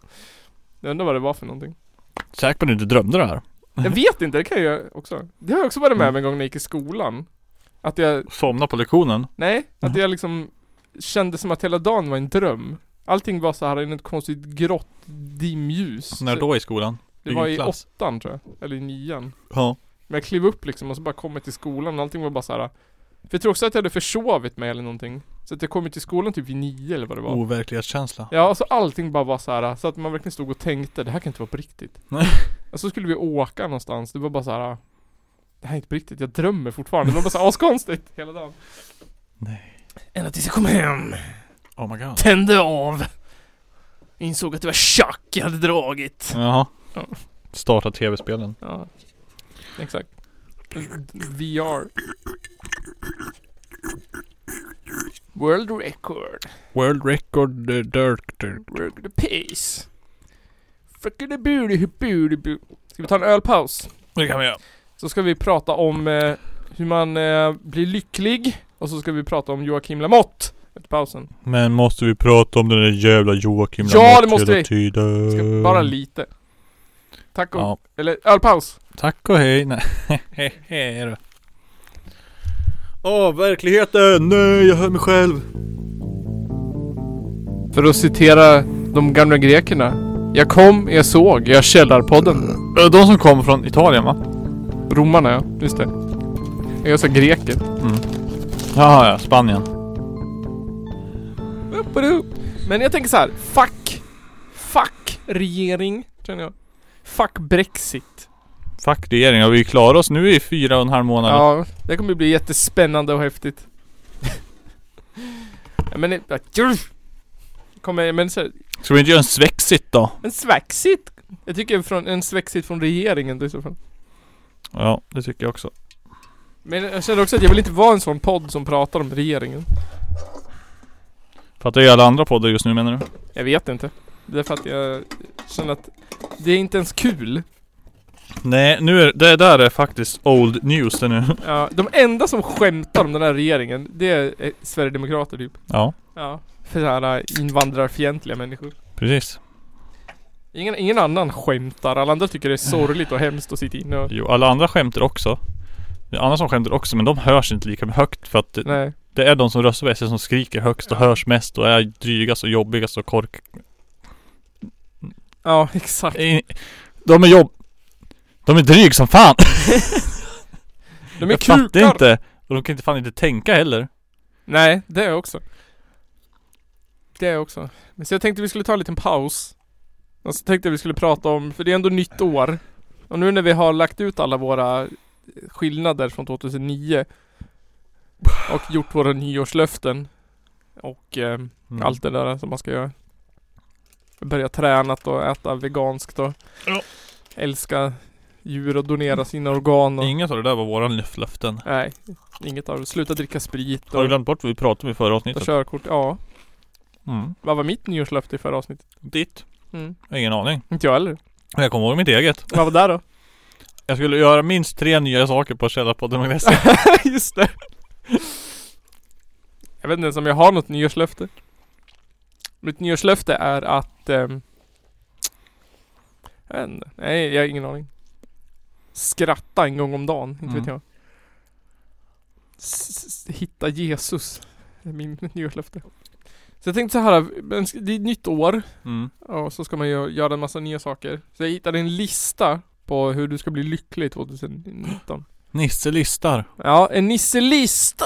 Jag undrar vad det var för någonting. Säker på att du inte drömde det här? Jag vet inte, det kan jag också. Det har jag också varit Mm. med om en gång när jag gick i skolan. Att jag, Somna på lektionen? nej, att Mm. jag liksom kände som att hela dagen var en dröm. Allting var så här i ett konstigt grått dimljus. Alltså, När då i skolan? Det var Vilken i klass? åttan tror jag, eller i nian. Ja. Men jag klev upp liksom och så bara kom jag till skolan och allting var bara så här. För jag tror också att jag hade försovit mig eller någonting. Så att jag kom till skolan typ vid nio eller vad det var. Overklighetskänsla. Ja, alltså allting bara var så här så att man verkligen stod och tänkte det här kan inte vara på riktigt. Nej. Och så skulle vi åka någonstans, det var bara så här. Det här är inte på riktigt, jag drömmer fortfarande. Det var bara så här, askonstigt hela dagen. Nej. Ända tills jag kom hem, Oh my god. tände av. Insåg att det var tjack jag hade dragit. Jaha. Ja. Starta tv-spelen. Ja, exakt. VR. World record. World record eh, director. World the pace. Fucking the beauty, beauty, beauty. Ska vi ta en ölpaus? Det kan vi göra. Så ska vi prata om eh, hur man eh, blir lycklig och så ska vi prata om Joakim Lamotte efter pausen. Men måste vi prata om den där jävla Joakim Ja, Lamotte det måste hela vi. Tiden? Ska bara lite. Tack och... Ja. Eller ölpaus! Tack och hej. Nej. hej, hej då. Åh, verkligheten! Nej, jag hör mig själv. För att citera de gamla grekerna. Jag kom, jag såg, jag källarpodden. De som kom från Italien va? Romarna ja, just det. Jag sa greker. Jaha ja, Spanien. Uppadu. Men jag tänker så här. fuck. Fuck regering, känner jag. Fuck Brexit. Fuck regeringen, vi klarar oss nu i fyra och en halv månad. Ja, det kommer bli jättespännande och häftigt. Ja, men... det- Kommer, men så, Ska vi inte göra en svexit då? en svexit? Jag tycker från, en svexit från regeringen i så fall. Ja, det tycker jag också. Men jag känner också att jag vill inte vara en sån podd som pratar om regeringen. Fattar ju alla andra poddar just nu menar du? Jag vet inte. Det är för att jag känner att det är inte ens kul. Nej, nu är, det där är faktiskt old news det nu. Ja, de enda som skämtar om den här regeringen, det är eh, Sverigedemokrater typ. Ja, Ja. För såhär invandrarfientliga människor. precis. Ingen, ingen annan skämtar. Alla andra tycker det är sorgligt och hemskt att sitta inne och... Jo, alla andra skämtar också. Det är andra som skämtar också, men de hörs inte lika högt för att det, Nej. det är de som röstar på SD som skriker högst och hörs mest och är drygast och jobbigast och kork... Ja, exakt. In- De är jobb... De är dryg som fan! De är jag kukar! fattar inte! Och de kan inte fan inte tänka heller. Nej, det är jag också. Det är jag också. Men så jag tänkte vi skulle ta en liten paus. Och så tänkte jag vi skulle prata om, för det är ändå nytt år. Och nu när vi har lagt ut alla våra skillnader från 2009 och gjort våra nyårslöften och eh, Mm. allt det där som man ska göra. Börja träna och äta veganskt och Ja. älska djur och donera sina organ och... Inget av det där var våra löften. Nej, inget av det. Sluta dricka sprit Har du och, glömt bort vad vi pratade om i förra och avsnittet? körkort. Ja. Mm. Vad var mitt nyårslöfte i förra avsnittet? Ditt? Mm. Jag har Ingen aning. Inte jag heller. Men jag kommer ihåg mitt eget. Vad var där då? Jag skulle göra minst tre nya saker på källarpodden.se. Just det. Jag vet inte ens om jag har något nyårslöfte. Mitt nyårslöfte är att... ehm, jag vet inte. Nej, jag har ingen aning. Skratta en gång om dagen. Inte Mm. vet jag. S- s- Hitta Jesus. Det är min nyårslöfte. Så jag tänkte så här. men sk- Det är ett nytt år. Mm. Ja, så ska man ju göra en massa nya saker. Så jag hittade en lista på hur du ska bli lycklig 2019. Nisse listar. Ja, en nisselista!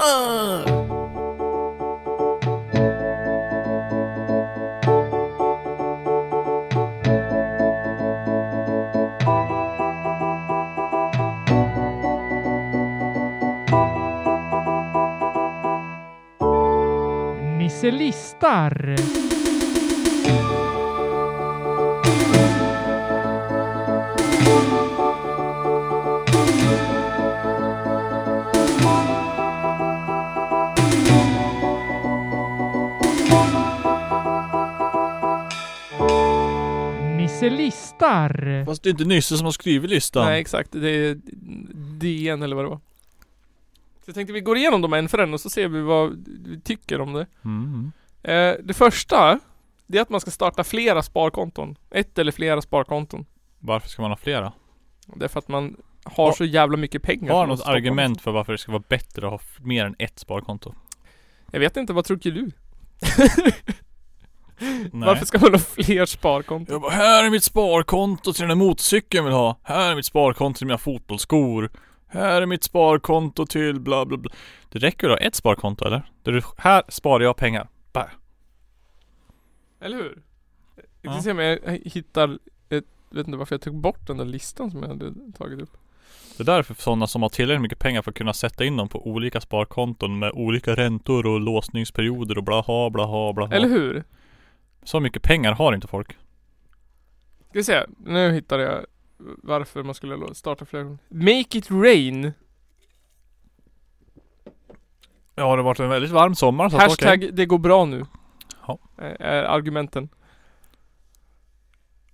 Nisselistar! Nisselistar! Fast det är inte Nisse som har skrivit listan. Nej exakt, det är DN eller vad det var. Så jag tänkte vi går igenom dem en för en och så ser vi vad vi tycker om det. Mm. Eh, det första, det är att man ska starta flera sparkonton. Ett eller flera sparkonton. Varför ska man ha flera? Därför att man har Har- så jävla mycket pengar. Har som man något stoppar. argument för varför det ska vara bättre att ha f- mer än ett sparkonto? Jag vet inte, vad tycker du? Nej. Varför ska man ha fler sparkonton? Jag bara, här är mitt sparkonto till den där motorcykeln jag vill ha. Här är mitt sparkonto till mina fotbollsskor. Här är mitt sparkonto till bla bla bla. Det räcker att ha ett sparkonto eller? Där du, här sparar jag pengar. Bah. Eller hur? Jag ska Ja. se om jag hittar ett, vet inte varför jag tog bort den där listan som jag hade tagit upp. Det är därför sådana som har tillräckligt mycket pengar för att kunna sätta in dem på olika sparkonton med olika räntor och låsningsperioder och blaha blaha blaha. Eller hur? Så mycket pengar har inte folk. Ska vi se, nu hittade jag varför man skulle lo- starta fler gånger. Make it rain. Ja, det har varit en väldigt varm sommar så Hashtag det går bra nu. Ja. Eh, Är argumenten.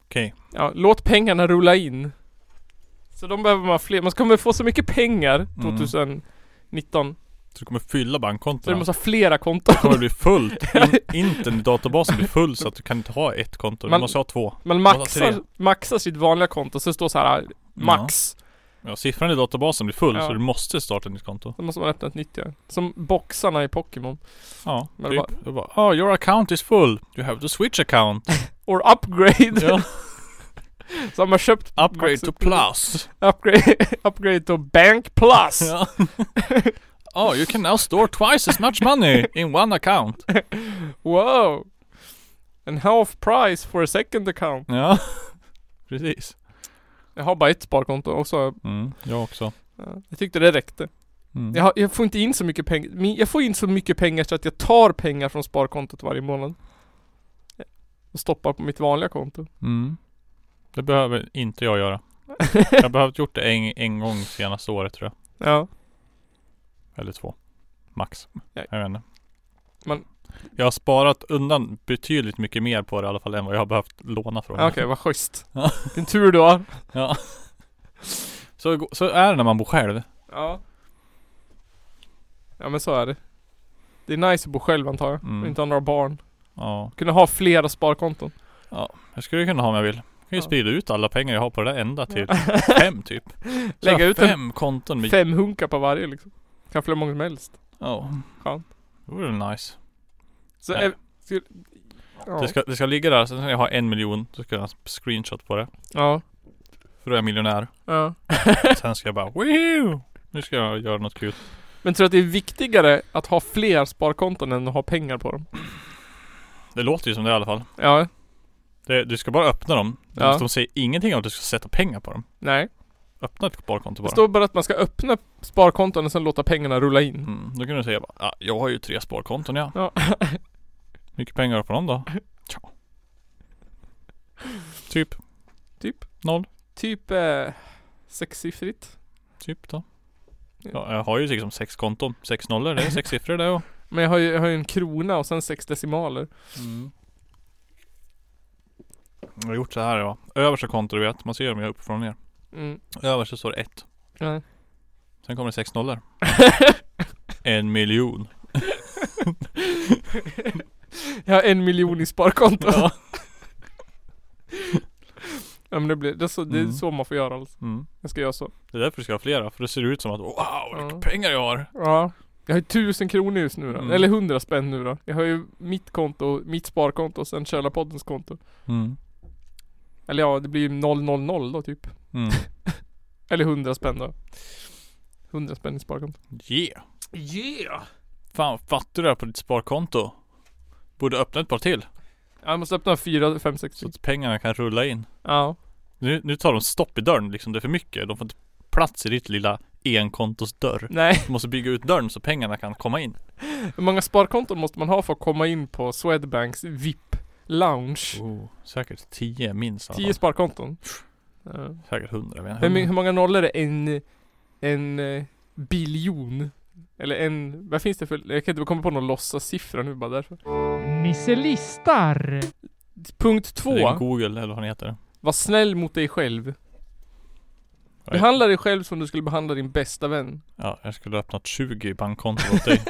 Okej. Ja, låt pengarna rulla in. Så de behöver man fler. Man kommer få så mycket Mm. pengar 2019. Så du kommer fylla Så du bankkontona. måste ha flera konton. Det kommer bli fullt. In, internetdatabasen blir full så att du kan inte ha ett konto. Du Man- måste ha två. Man Måste ha maxar, tre. maxar sitt vanliga konto så det står så här äh, max. Ja, siffran i databasen blir full Ja. så du måste starta ett nytt konto. Då måste man öppna ett nytt ja. Som boxarna i Pokémon. Ja, Men men det typ. Bara... Bara, oh, your account is full. You have to switch account. Or upgrade. ja. Så de har köpt Upgrade Max- to plus. upgrade, upgrade to bank plus. Ja. oh, you can now store twice as much money in one account. Wow! En half price for a second account. Ja, precis. Jag har bara ett sparkonto och så Mm, jag också. ja, Jag tyckte det räckte. Mm. Jag, har, jag får inte in så mycket pengar. Min- Jag får in så mycket pengar så att jag tar pengar från sparkontot varje månad. Och stoppar på mitt vanliga konto. Mm. Det behöver inte jag göra. Jag har behövt gjort det en, en gång senaste året tror jag. ja. Eller två. Max. Ja. Jag vet inte. Men- Jag har sparat undan betydligt mycket mer på det i alla fall än vad jag har behövt låna från. Ah, Okej, vad schysst. Ja. Vilken tur du har. Ja. Så, så är det när man bor själv. Ja. Ja men så är det. Det är nice att bo själv antar jag. Mm. Och inte ha några barn. Ja. Kunna ha flera sparkonton. Jag skulle kunna ha om jag vill. Jag kan ju Ja. sprida ut alla pengar jag har på det där enda till fem typ. Så jag Lägga har ut en- fem konton med... Fem hunkar på varje liksom. Kan flera många som helst. Ja. Skönt. Det vore väl nice. Så Nej. ev- skulle- ja. Det, ska, det ska ligga där. Sen när jag har en miljon så ska jag ha en screenshot på det. ja. För då är jag miljonär. Ja. Sen ska jag bara Woo! Nu ska jag göra något kul. Men tror du att det är viktigare att ha fler sparkonton än att ha pengar på dem? Det låter ju som det i alla fall. Ja. Det, du ska bara öppna dem. Ja. De säger ingenting om att du ska sätta pengar på dem. Nej. Öppna ett sparkonto Det bara. står bara att man ska öppna sparkonton och sen låta pengarna rulla in. Mm, då kan du säga bara, ah, jag har ju tre sparkonton ja. Ja. Mycket pengar har du på dem då? Tja. Typ. Typ. Noll. Typ eh, sexsiffrigt. Typ då. Ja, jag har ju liksom sex konton. Sex nollor, det är sex siffror det och. Men jag har ju, jag har ju en krona och sen sex decimaler. Mm. Jag har gjort så här ja. Översta konto du vet, man ser dem ju uppifrån och ner. Mm. Överst så står det ett. Ja. Sen kommer det sex nollor. en miljon. Jag har en miljon i sparkonto. Ja. Ja, men det blir, det är, så, det är Mm. så man får göra alltså. Mm. Jag ska göra så. Det är därför du ska ha flera, för det ser ut som att wow, vilka Ja. pengar jag har. Ja. Jag har ju tusen kronor just nu då. Mm. Eller hundra spänn nu då. Jag har ju mitt konto, mitt sparkonto och sen Källarpoddens konto. Mm. Eller ja, det blir ju 000 då typ. Mm. Eller 100 spänn då. 100 spänn i sparkonto. Yeah. Yeah! Fan, fattar du det här på ditt sparkonto? Borde öppna ett par till, Jag måste öppna 4, 5, 6. så att pengarna kan rulla in. Ja. Nu, nu tar de stopp i dörren liksom, det är för mycket. De får inte plats i ditt lilla enkontos dörr. Nej. Du måste bygga ut dörren så pengarna kan komma in. Hur många sparkonton måste man ha för att komma in på Swedbanks VIP lounge? Oh, säkert 10 minst i alla 10 fall. sparkonton. Ja. Säkert 100 vet Hur, jag my- hur inte. många nollor är en, en eh, biljon? Eller en, vad finns det för, jag kan inte komma på någon låtsassiffra nu bara därför. Nisse listar. Punkt Ring två. Google eller vad han heter. Var snäll mot dig själv. Jag- Behandla dig själv som du skulle behandla din bästa vän. Ja, jag skulle ha öppnat 20 bankkonton åt dig.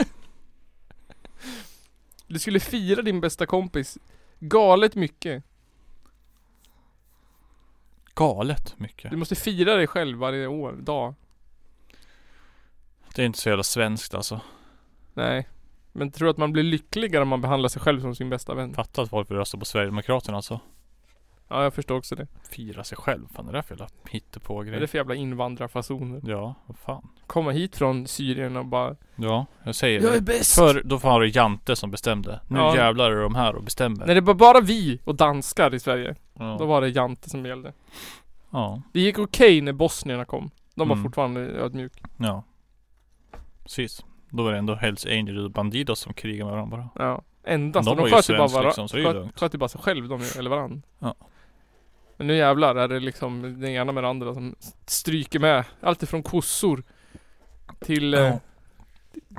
Du skulle fira din bästa kompis galet mycket. Galet mycket. Du måste fira dig själv varje år, dag. Det är inte så jävla svenskt alltså. Nej. Men tror du att man blir lyckligare om man behandlar sig själv som sin bästa vän? Fatta att folk vill rösta på Sverigedemokraterna alltså. Ja, jag förstår också det. Fira sig själv. Fan det där för jävla Vad är det hittepågrej. för jävla invandrarfasoner? Ja, vad fan. Komma hit från Syrien och bara Ja, jag säger Jag är det. bäst! Förr, då var det Jante som bestämde. Nu Ja. jävlar är de här och bestämmer. När det var bara vi och danskar i Sverige, ja. då var det jante som gällde. ja. Det gick okej när bosnierna kom. De var Mm. fortfarande ödmjuka. Ja. Precis. Då var det ändå Hells Angels och Bandidos som krigade med varandra bara. Ja. Endast. Men De, de de var ju sköt ju bara svensk varandra. liksom, så det är ju sköt, lugnt. sköt ju bara sig själv de, ju, eller varandra. Ja. Men nu jävlar är det liksom den ena med den andra som stryker med. Allt ifrån kossor till eh, Ja.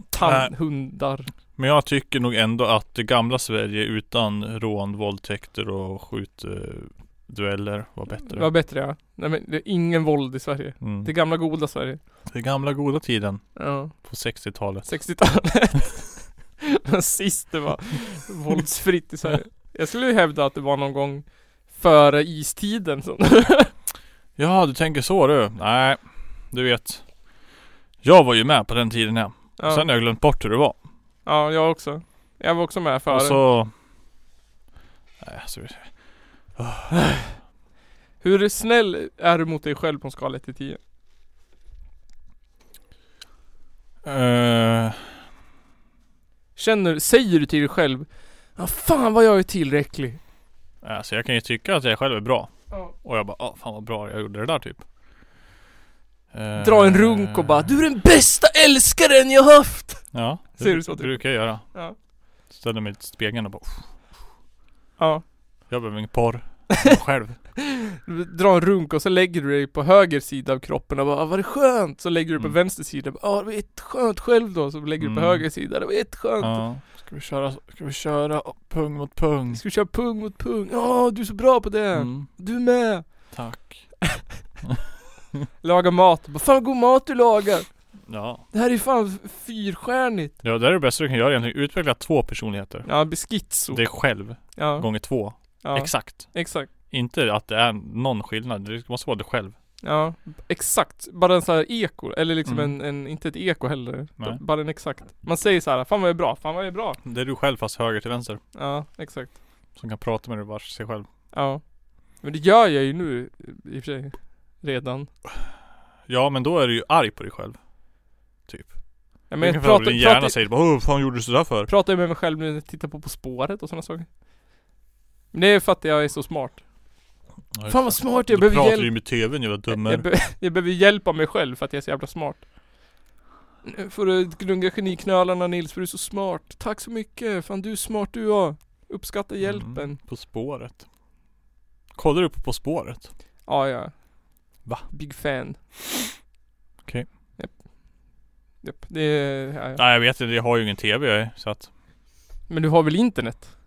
tan- Nej. hundar. Men jag tycker nog ändå att det gamla Sverige utan rån, våldtäkter och skjutdueller var Det bättre. var bättre ja. Nej men det är ingen våld i Sverige. Mm. Det gamla goda Sverige. Den gamla goda tiden Ja. på 60-talet. 60-talet. Men Sist det var våldsfritt i Sverige. Jag skulle ju hävda att det var någon gång före istiden. som- Ja, du tänker så du. Nej, du vet. Jag var ju med på den tiden här. Ja. Sen har jag glömt bort hur det var. Ja, jag också. Jag var också med före. Och så... Nej, alltså... Hur snäll är du mot dig själv på en skala 1 till 10? Eh, Känner, säger du till dig själv Ja fan vad jag är tillräcklig. alltså jag kan ju tycka att jag själv är bra. Ja. Och jag bara, ah, fan vad bra jag gjorde det där typ. Eh, Dra en runk och bara Du är den bästa älskaren jag haft! Ja, det Ser du så, typ? brukar jag göra. Ja. Ställer mig i spegeln och bara, "Pff, Ja. jag behöver ingen porr. Jag själv. Du drar en runk och så lägger du dig på höger sida av kroppen och bara "Ah, vad det är skönt! Så lägger du på Mm. vänster sida och bara, "Ah, det var ett skönt själv då. Så lägger du på Mm. höger sida, det var ett skönt. Ja. Ska vi köra, ska vi köra pung mot pung? Ska vi köra pung mot pung? Ja, du är så bra på det! Mm, Du med! tack. Laga mat, bara, fan vad god mat du lagar! Ja. Det här är fan f- fyrstjärnigt! ja, det är det bästa du kan göra egentligen. Utveckla två personligheter. Ja, beskitso. Dig själv, ja, gånger två. ja, Exakt. exakt. Inte att det är någon skillnad. Det måste vara du själv. Ja, exakt. Bara en sån här eko, eller liksom Mm. en, en, inte ett eko heller. Nej. Bara en exakt. Man säger så här, fan vad jag är bra, fan vad jag är bra. Det är du själv fast höger till vänster. Ja, exakt. Som kan prata med dig vars sig själv. Ja. Men det gör jag ju nu i och för sig. Redan. Ja men då är du ju arg på dig själv. Ja, Men men jag jag pratar, pratar, din hjärna pratar, säger bara Åh, fan gjorde du sådär för? pratar jag med mig själv nu när jag tittar på På spåret och sådana saker. Men det är för att jag är så smart. Ja, just Fan det. vad smart Då jag behöver pratar du hjälp. ju med tvn jävla dummer. Jag, be jag behöver hjälp av mig själv för att jag är så jävla smart. Nu får du gnugga geniknölarna Nils för du är så smart. Tack så mycket. Fan du är smart du och. Uppskattar hjälpen. Mm, på spåret. Kollar du på På spåret? Ja ja. Va? Big fan. Okej. Japp. Japp. Det är, ja, ja. Nej jag vet inte, jag har ju ingen tv jag är, så att Men du har väl internet?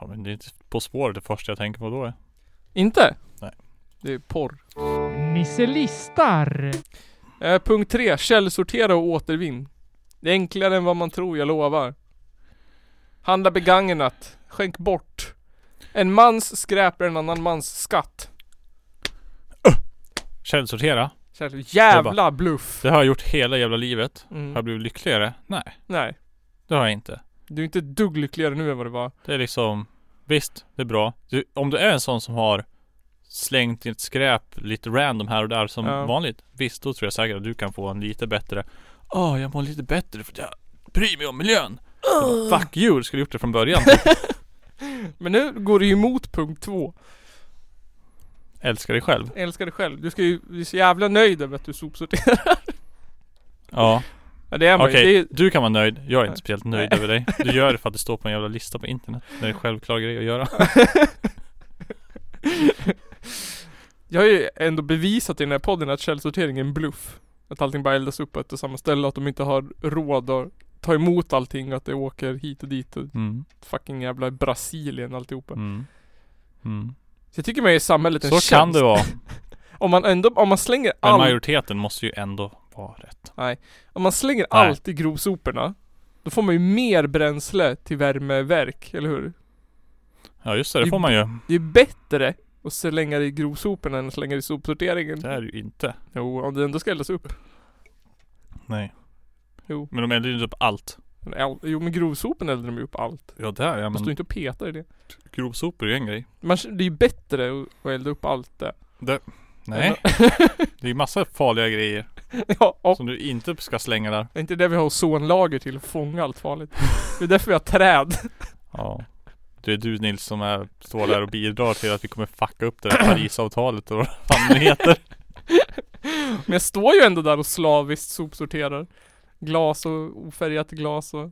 Ja men det är inte På spåret det första jag tänker på då är. Inte? Nej. Det är porr. Nisse listar. Eh, punkt 3. Källsortera och återvinn. Det är enklare än vad man tror, jag lovar. Handla begagnat. Skänk bort. En mans skräp är en annan mans skatt. Källsortera? Så här, Jävla bluff. Det har jag gjort hela jävla livet. Har Mm. jag blivit lyckligare? Nej, Nej. det har jag inte. Du är inte ett dugg lyckligare nu än vad det var. Det är liksom Visst, det är bra. Du, om du är en sån som har slängt ditt skräp lite random här och där som Ja. vanligt. Visst, då tror jag säkert att du kan få en lite bättre Åh, jag mår lite bättre för att jag bryr mig om miljön. Jag bara, Fuck you, du skulle gjort det från början. Men nu går det ju emot punkt 2. Älskar dig själv. Älskar dig själv. Du ska ju bli så jävla nöjd över att du sopsorterar. Ja. Ja, det är man ju. Okej, Det är- du kan vara nöjd. Jag är Nej. inte speciellt nöjd över dig. Du gör det för att det står på en jävla lista på internet. Det är en självklar grej att göra. Jag har ju ändå bevisat i den här podden att källsortering är en bluff. Att allting bara eldas upp på ett och samma ställe och att de inte har råd att ta emot allting och att det åker hit och dit och Mm. fucking jävla Brasilien alltihopa. Mm. Mm. Så jag tycker man ger samhället en Så tjänst. kan det vara. Om man ändå, om man slänger Men allt, majoriteten måste ju ändå vara rätt. om man slänger Nej. allt i grovsoporna. Då får man ju mer bränsle till värmeverk, eller hur? Ja just det, det får man ju. Det är ju bättre att slänga det i grovsoporna än att slänga det i sopsorteringen. Det är det ju inte. Jo, om det ändå ska eldas upp. Nej. Jo. Men de eldar ju inte upp allt. Men all- Jo men grovsoporna eldar de ju upp allt. Ja där ja, Man står ju men inte och petar i det. grovsopor är ju en grej. Man, det är ju bättre att- att elda upp allt det. Nej, det är ju massa farliga grejer ja, och som du inte ska slänga där. det är inte det vi har ozonlager till, att fånga allt farligt. Det är därför vi har träd. Ja. Det är du Nils som är, står där och bidrar till att vi kommer fucka upp det där Parisavtalet och vad fan det heter. Men jag står ju ändå där och slaviskt sopsorterar. Glas och ofärgat glas och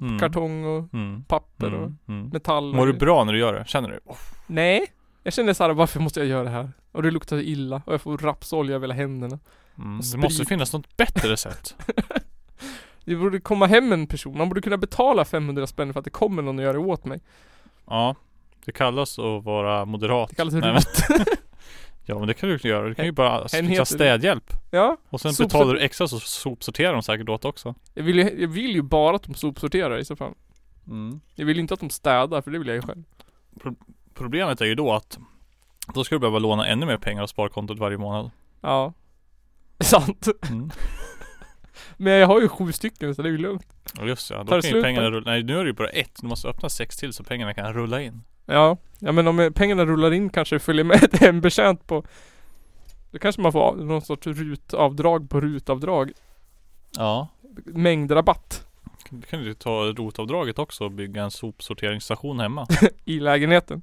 Mm. kartong och Mm. papper och Mm. Mm. metall. och- Mår du bra när du gör det? Känner du? Nej. Jag kände såhär, varför måste jag göra det här? Och det luktar illa och jag får rapsolja över hela händerna. Mm. Det Sprit. måste finnas något bättre sätt. Det borde komma hem en person. Man borde kunna betala 500 spänn för att det kommer någon och gör det åt mig. Ja. Det kallas att vara moderat. Det kallas Nej, rot. Ja men det kan du ju göra. Du kan ju bara fixa heter- städhjälp. Ja. Och sen Sopsort- betalar du extra så sopsorterar de säkert åt också. Jag vill, ju, jag vill ju bara att de sopsorterar i så fall. Mm. Jag vill inte att de städar för det vill jag ju själv. Problemet är ju då att då ska du behöva låna ännu mer pengar av sparkontot varje månad. Ja. Sant. Mm. Men jag har ju sju stycken så det är ju lugnt. Och Just ja, Tar då det kan ju slut, pengarna då? rulla. Nej nu är det ju bara ett. Du måste öppna sex till så pengarna kan rulla in. Ja. Ja men om eh, pengarna rullar in kanske följer med ett hembetjänt på Då kanske man får av- någon sorts rutavdrag på rutavdrag Ja. Mängdrabatt Du kan ju ta rotavdraget också och bygga en sopsorteringsstation hemma. i lägenheten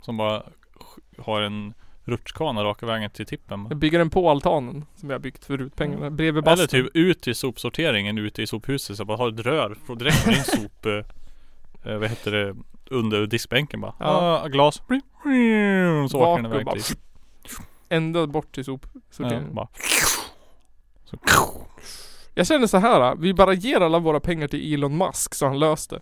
Som bara sk- har en rutschkana raka vägen till tippen. Jag bygger den på altanen som jag byggt förut pengarna bredvid Eller bastun typ ut till sopsorteringen ute i sophuset. Så bara har ett rör från- direkt från din sop... eh, eh, vad heter det? Under diskbänken bara. Ja. Ja. Ah, glas. Så åker den Bak och iväg bara- till Ända bort till sop ja, sorteringen. bara. Så, Jag känner så här. vi bara ger alla våra pengar till Elon Musk så han löste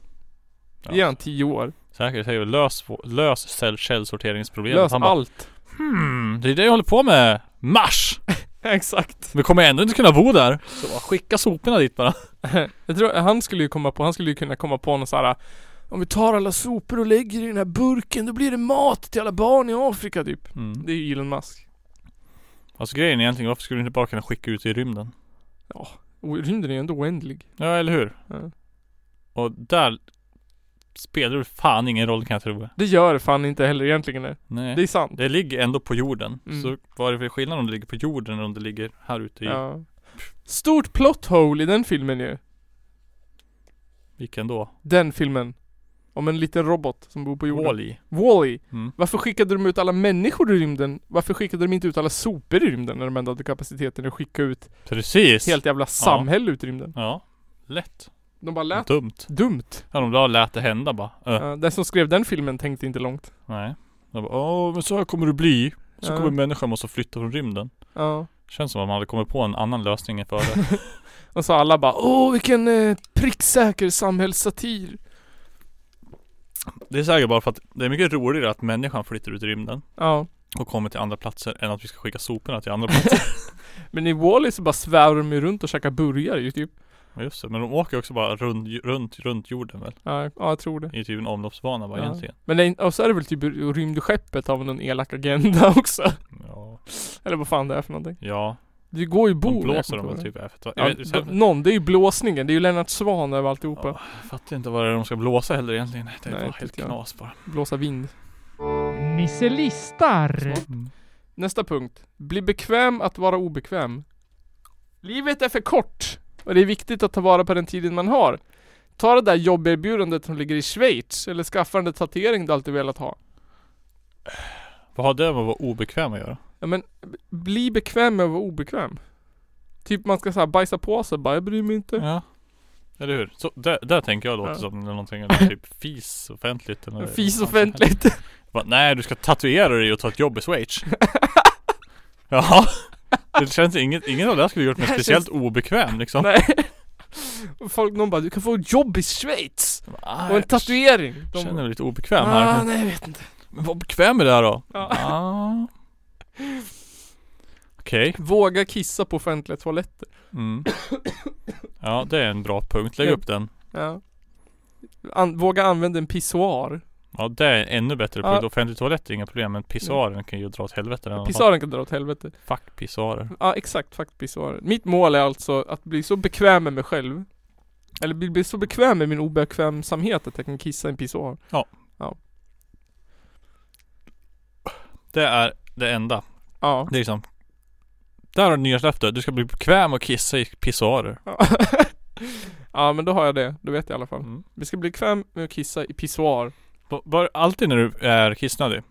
Ja. det Ge han tio år, Säkert säger vi lös, lös cell- källsorteringsproblemet. lös Han bara, allt Hmm, det är det jag håller på med. Mars! Exakt Vi kommer ändå inte kunna bo där. Så bara skicka soporna dit bara. Jag tror han skulle ju komma på, han skulle ju kunna komma på något så här. Om vi tar alla sopor och lägger i den här burken då blir det mat till alla barn i Afrika typ Mm. Det är ju Elon Musk. Alltså grejen är egentligen, varför skulle du inte bara kunna skicka ut i rymden? Och Rymden är ju ändå oändlig. Ja, eller hur? Ja. Och där spelar det fan ingen roll kan jag tro. Det gör fan inte heller egentligen det. Nej. Det Det, är sant. ligger ändå på jorden. Mm. Så vad är det för skillnad om det ligger på jorden eller om det ligger här ute i Ja. Stort plot hole i den filmen ju. vilken då? Den filmen. Om en liten robot som bor på jorden. Wall-E. Wall-E. Mm. Varför skickade de ut alla människor i rymden? Varför skickade de inte ut alla sopor i rymden när de ändå hade kapaciteten att skicka ut Precis. helt jävla samhälle ut i rymden? Ja. Lätt. De bara lät Dumt. dumt. Ja, de bara lät det hända bara. Äh. Ja, den som skrev den filmen tänkte inte långt. Nej. De bara, åh men så här kommer det bli. Så Ja. kommer människan måste flytta från rymden. Ja. Känns som att man hade kommit på en annan lösning än före. Och så alla bara Åh vilken eh, pricksäker samhällssatir. det är säkert bara för att det är mycket roligare att människan flyttar ut i rymden Ja. och kommer till andra platser än att vi ska skicka soporna till andra platser. Men i Wall-E så bara svävar de ju runt och käkar burgare ju typ. Ja, Just det, men de åker också bara runt, runt, runt jorden väl? Ja, ja jag tror det. I typ en omloppsbana bara Ja. egentligen. Men det, är in- och så är det väl typ rymdskeppet av någon elak agenda också. Ja. Eller vad fan det är för någonting. Ja. Det går ju De bo blåser de jag väl kommer typ efter. Ja, Jag, vet, jag, b- någon, det är ju blåsningen. Det är ju Lennart Swahn över alltihopa. Ja, jag fattar inte vad det är de ska blåsa heller egentligen. Det är Nej, bara inte helt jag. knas bara. Blåsa vind. Nisse listar. Mm. Nästa punkt. Bli bekväm att vara obekväm. Livet är för kort och det är viktigt att ta vara på den tiden man har. Ta det där jobberbjudandet som ligger i Schweiz eller skaffa den där tatuering du alltid velat ha. Vad har det med att vara obekväm att göra? Ja men, b- bli bekväm med att vara obekväm. Typ man ska såhär bajsa på sig bara, jag bryr mig inte. Ja. Eller hur? Så där, där tänker jag låter Ja. som någonting eller typ fis offentligt eller Fis vad fan som helst. offentligt. Bara, Nej du ska tatuera dig och ta ett jobb i Schweiz. Jaha. Det känns inget, ingen av det här skulle gjort mig Det här speciellt obekväm liksom. Nej. Och Folk, någon bara, du kan få ett jobb i Schweiz. Ah, Och en tatuering. Jag känner De, mig lite obekväm ah, här. nej jag vet inte. Men vad bekväm är det här då? Ja. Ah. Okej. Våga kissa på offentliga toaletter. Mm. Ja det är en bra punkt. Lägg Ja. upp den. Ja. An, våga använda en pissoar. Ja det är en ännu bättre punkt. Ja. Offentlig toalett är inga problem men pissoaren kan ju dra åt helvete. den i alla fall. Pissoaren kan dra åt helvete. Fuck pissoarer. Ja exakt, faktiskt pissoaren. Mitt mål är alltså att bli så bekväm med mig själv. Eller bli, bli så bekväm med min obekvämsamhet att jag kan kissa i en pissoar. Det är det enda. Ja. Det är liksom Där har du nyårslöfte. Du ska bli bekväm och kissa i pissoarer. Ja. ja men då har jag det, då vet jag i alla fall. Mm. Vi ska bli bekväm med att kissa i pissoar. B- Bara alltid när du är kissnödig.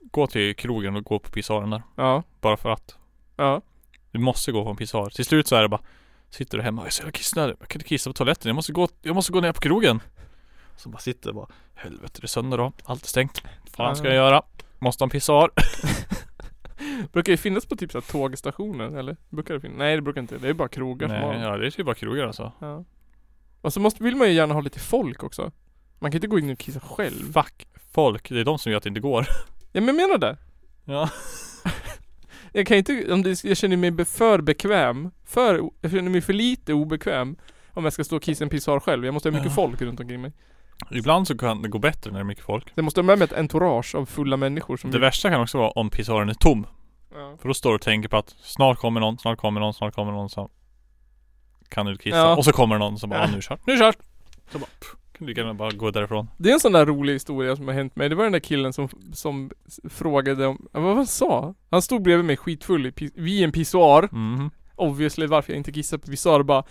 Gå till krogen och gå på pissoaren där. Ja. Bara för att. Ja. Du måste gå på en pissoar. Till slut så är det bara Sitter du hemma och är så jävla kissnödig. Jag kan inte kissa på toaletten. Jag måste gå, jag måste gå ner på krogen. Så bara sitter och bara Helvete det är söndag då. Allt är stängt. Fan ska jag göra? Måste ha en pissoar. Brukar det finnas på typ så här tågstationer eller? Brukar det finnas? Nej det brukar inte Det är bara krogar som har Nej, dem. ja, det är typ bara krogar alltså. ja. Och så måste, vill man ju gärna ha lite folk också. Man kan inte gå in och kissa själv. Fuck folk. Det är de som gör att det inte går. Ja men jag menar det. Ja. Jag kan inte, om det, jag känner mig be- för bekväm. För, jag känner mig för lite obekväm. Om jag ska stå och kissa i en pissoar själv. Jag måste ha mycket Ja. folk runt omkring mig. Ibland så kan det gå bättre när det är mycket folk. Jag måste ha med mig ett entourage av fulla människor som Det vill, värsta kan också vara om pissoaren är tom. ja. För då står du och tänker på att snart kommer någon, snart kommer någon, snart kommer någon som kan du kissa. Ja. Och så kommer någon som bara Ja. ja. nu kört, nu kört! Kan lika gärna bara gå därifrån. Det är en sån där rolig historia som har hänt mig. Det var den där killen som, som s- frågade om, ja, vad han sa? Han stod bredvid mig skitfull i, pis- vid en pissoar. Mhm. Obviously varför jag inte kissade på pissoar och bara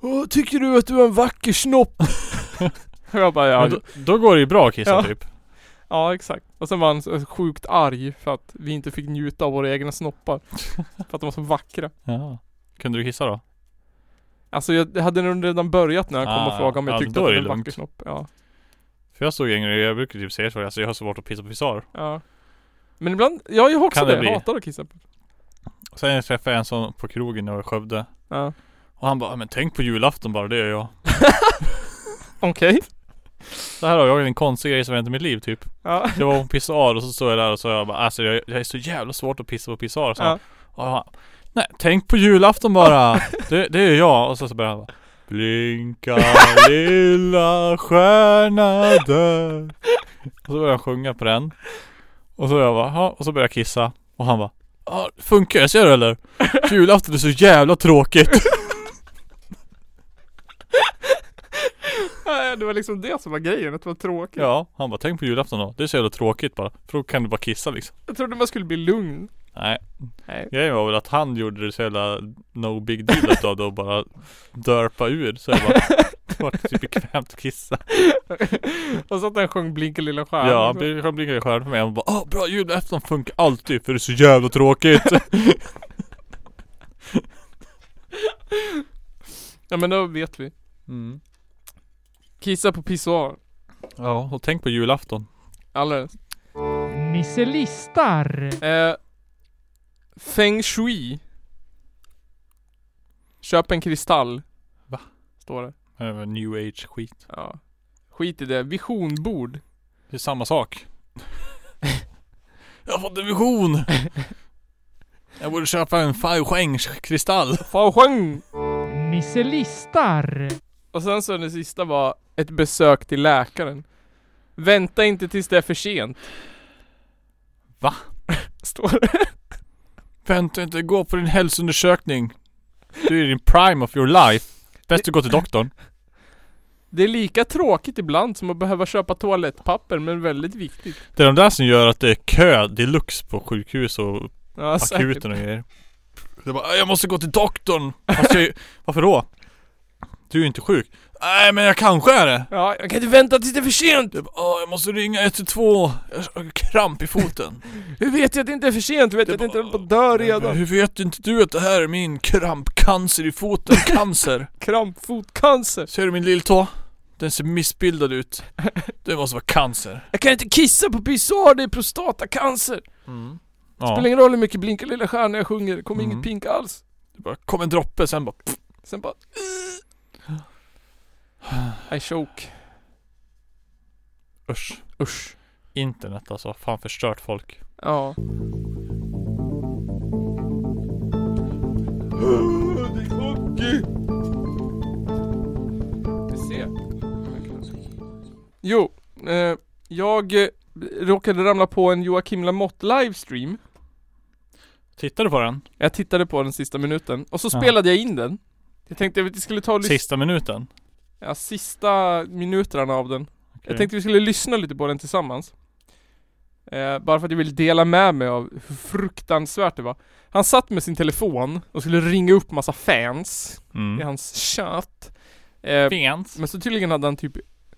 Åh, tycker du att du är en vacker snopp? och jag bara ja, Men då, då går det ju bra att kissa Ja. typ. ja exakt. Och sen var han så sjukt arg för att vi inte fick njuta av våra egna snoppar. för att de var så vackra. Ja. Kunde du kissa då? Alltså jag det hade nog redan börjat när han kom Ah, och frågade om jag ja, tyckte då att är det det var en lugnt. vacker snopp. Ja. För jag stod yngre, jag brukar typ säga så, alltså jag har svårt att pissa på pissoar. ja. Men ibland, ja jag har också Kan det det. bli? Jag hatar att kissa på. Och sen träffade jag en sån på krogen när jag var i Skövde. Ja. Och han bara, men tänk på julafton bara, det gör jag. Okej. Så här har jag en konstig grej som hänt i mitt liv typ. Ja. Det var på pissoar och så stod jag där och så jag bara, alltså jag, jag är så jävla svårt att pissa på pissoar. Så ja. Och han, nej tänk på julafton bara. Det, det är jag. Och så, så börjar han bara, Blinka lilla stjärna där. Och så börjar han sjunga på den. Och så jag bara, "Ja." och så börjar jag kissa. Och han bara, ja funkar det? Ser du eller? Julafton är så jävla tråkigt. Nej, Det var liksom det som var grejen, att det var tråkigt. Ja, han bara, tänk på julafton då. Det är så jävla tråkigt bara. För då kan du bara kissa liksom. Jag trodde man skulle bli lugn. Nej. Nej. Grejen var väl att han gjorde det så jävla no big deal utav det och bara dörpa ur så jag bara Det var typ bekvämt att kissa och så att den sjöng Blinka lilla stjärna. Ja, han blir- han blinkade stjärna på mig och bara Åh bra julafton funkar alltid för det är så jävla tråkigt ja men då vet vi. mm. Kissa på pissoar. Ja, och tänk på julafton Alldeles. Nisse listar. Eh, feng shui. Köp en kristall. Va? Står det. Eh, New age skit Ja. Skit i det. Visionbord. Det är samma sak Jag har fått en vision Jag borde köpa en kristall Faosheng. Nisse listar. Och sen så den sista var ett besök till läkaren. Vänta inte tills det är för sent. Va? Står det. Vänta inte, gå på din hälsoundersökning Du är i din prime of your life Bäst att gå till doktorn Det är lika tråkigt ibland som att behöva köpa toalettpapper men väldigt viktigt. Det är de där som gör att det är kö deluxe på sjukhus och Ja, säkert. akuten och grejer. Det är bara, "Äh, jag måste gå till doktorn! Fast jag, varför då? Du är ju inte sjuk. Nej men jag kanske är det. Ja, jag kan inte vänta tills det är för sent! det är bara, "Åh, jag måste ringa 112, jag har kramp i foten. Hur vet jag att det inte är för sent? Vet jag att Det jag inte bara- håller på Men att dö redan? Hur vet inte du att det här är min krampcancer i foten? Cancer. Krampfotcancer. Ser du min lilltå? Den ser missbildad ut. Det måste vara cancer. Jag kan inte kissa på pissoar, det är prostatacancer. Mm. Ja, Spelar ingen roll hur mycket Blinka lilla stjärna jag sjunger, det kommer Mm. inget pink alls. det bara kom en droppe sen bara Sen bara... I choke. usch. Usch. Internet alltså, fan förstört folk. Ja. Det är hockey! Vi ser. Jo, eh, jag eh, råkade ramla på en Joakim Lamotte livestream. Tittar du på den? Jag tittade på den sista minuten och så Ja. spelade jag in den. Jag tänkte att vi skulle ta och lyssna... Sista minuten? Ja, sista minuterna av den. Jag Okej. tänkte vi skulle lyssna lite på den tillsammans. Eh, bara för att jag vill dela med mig av hur fruktansvärt det var. Han satt med sin telefon och skulle ringa upp massa fans i Mm. hans chatt. Eh, Fint. men så tydligen hade han typ,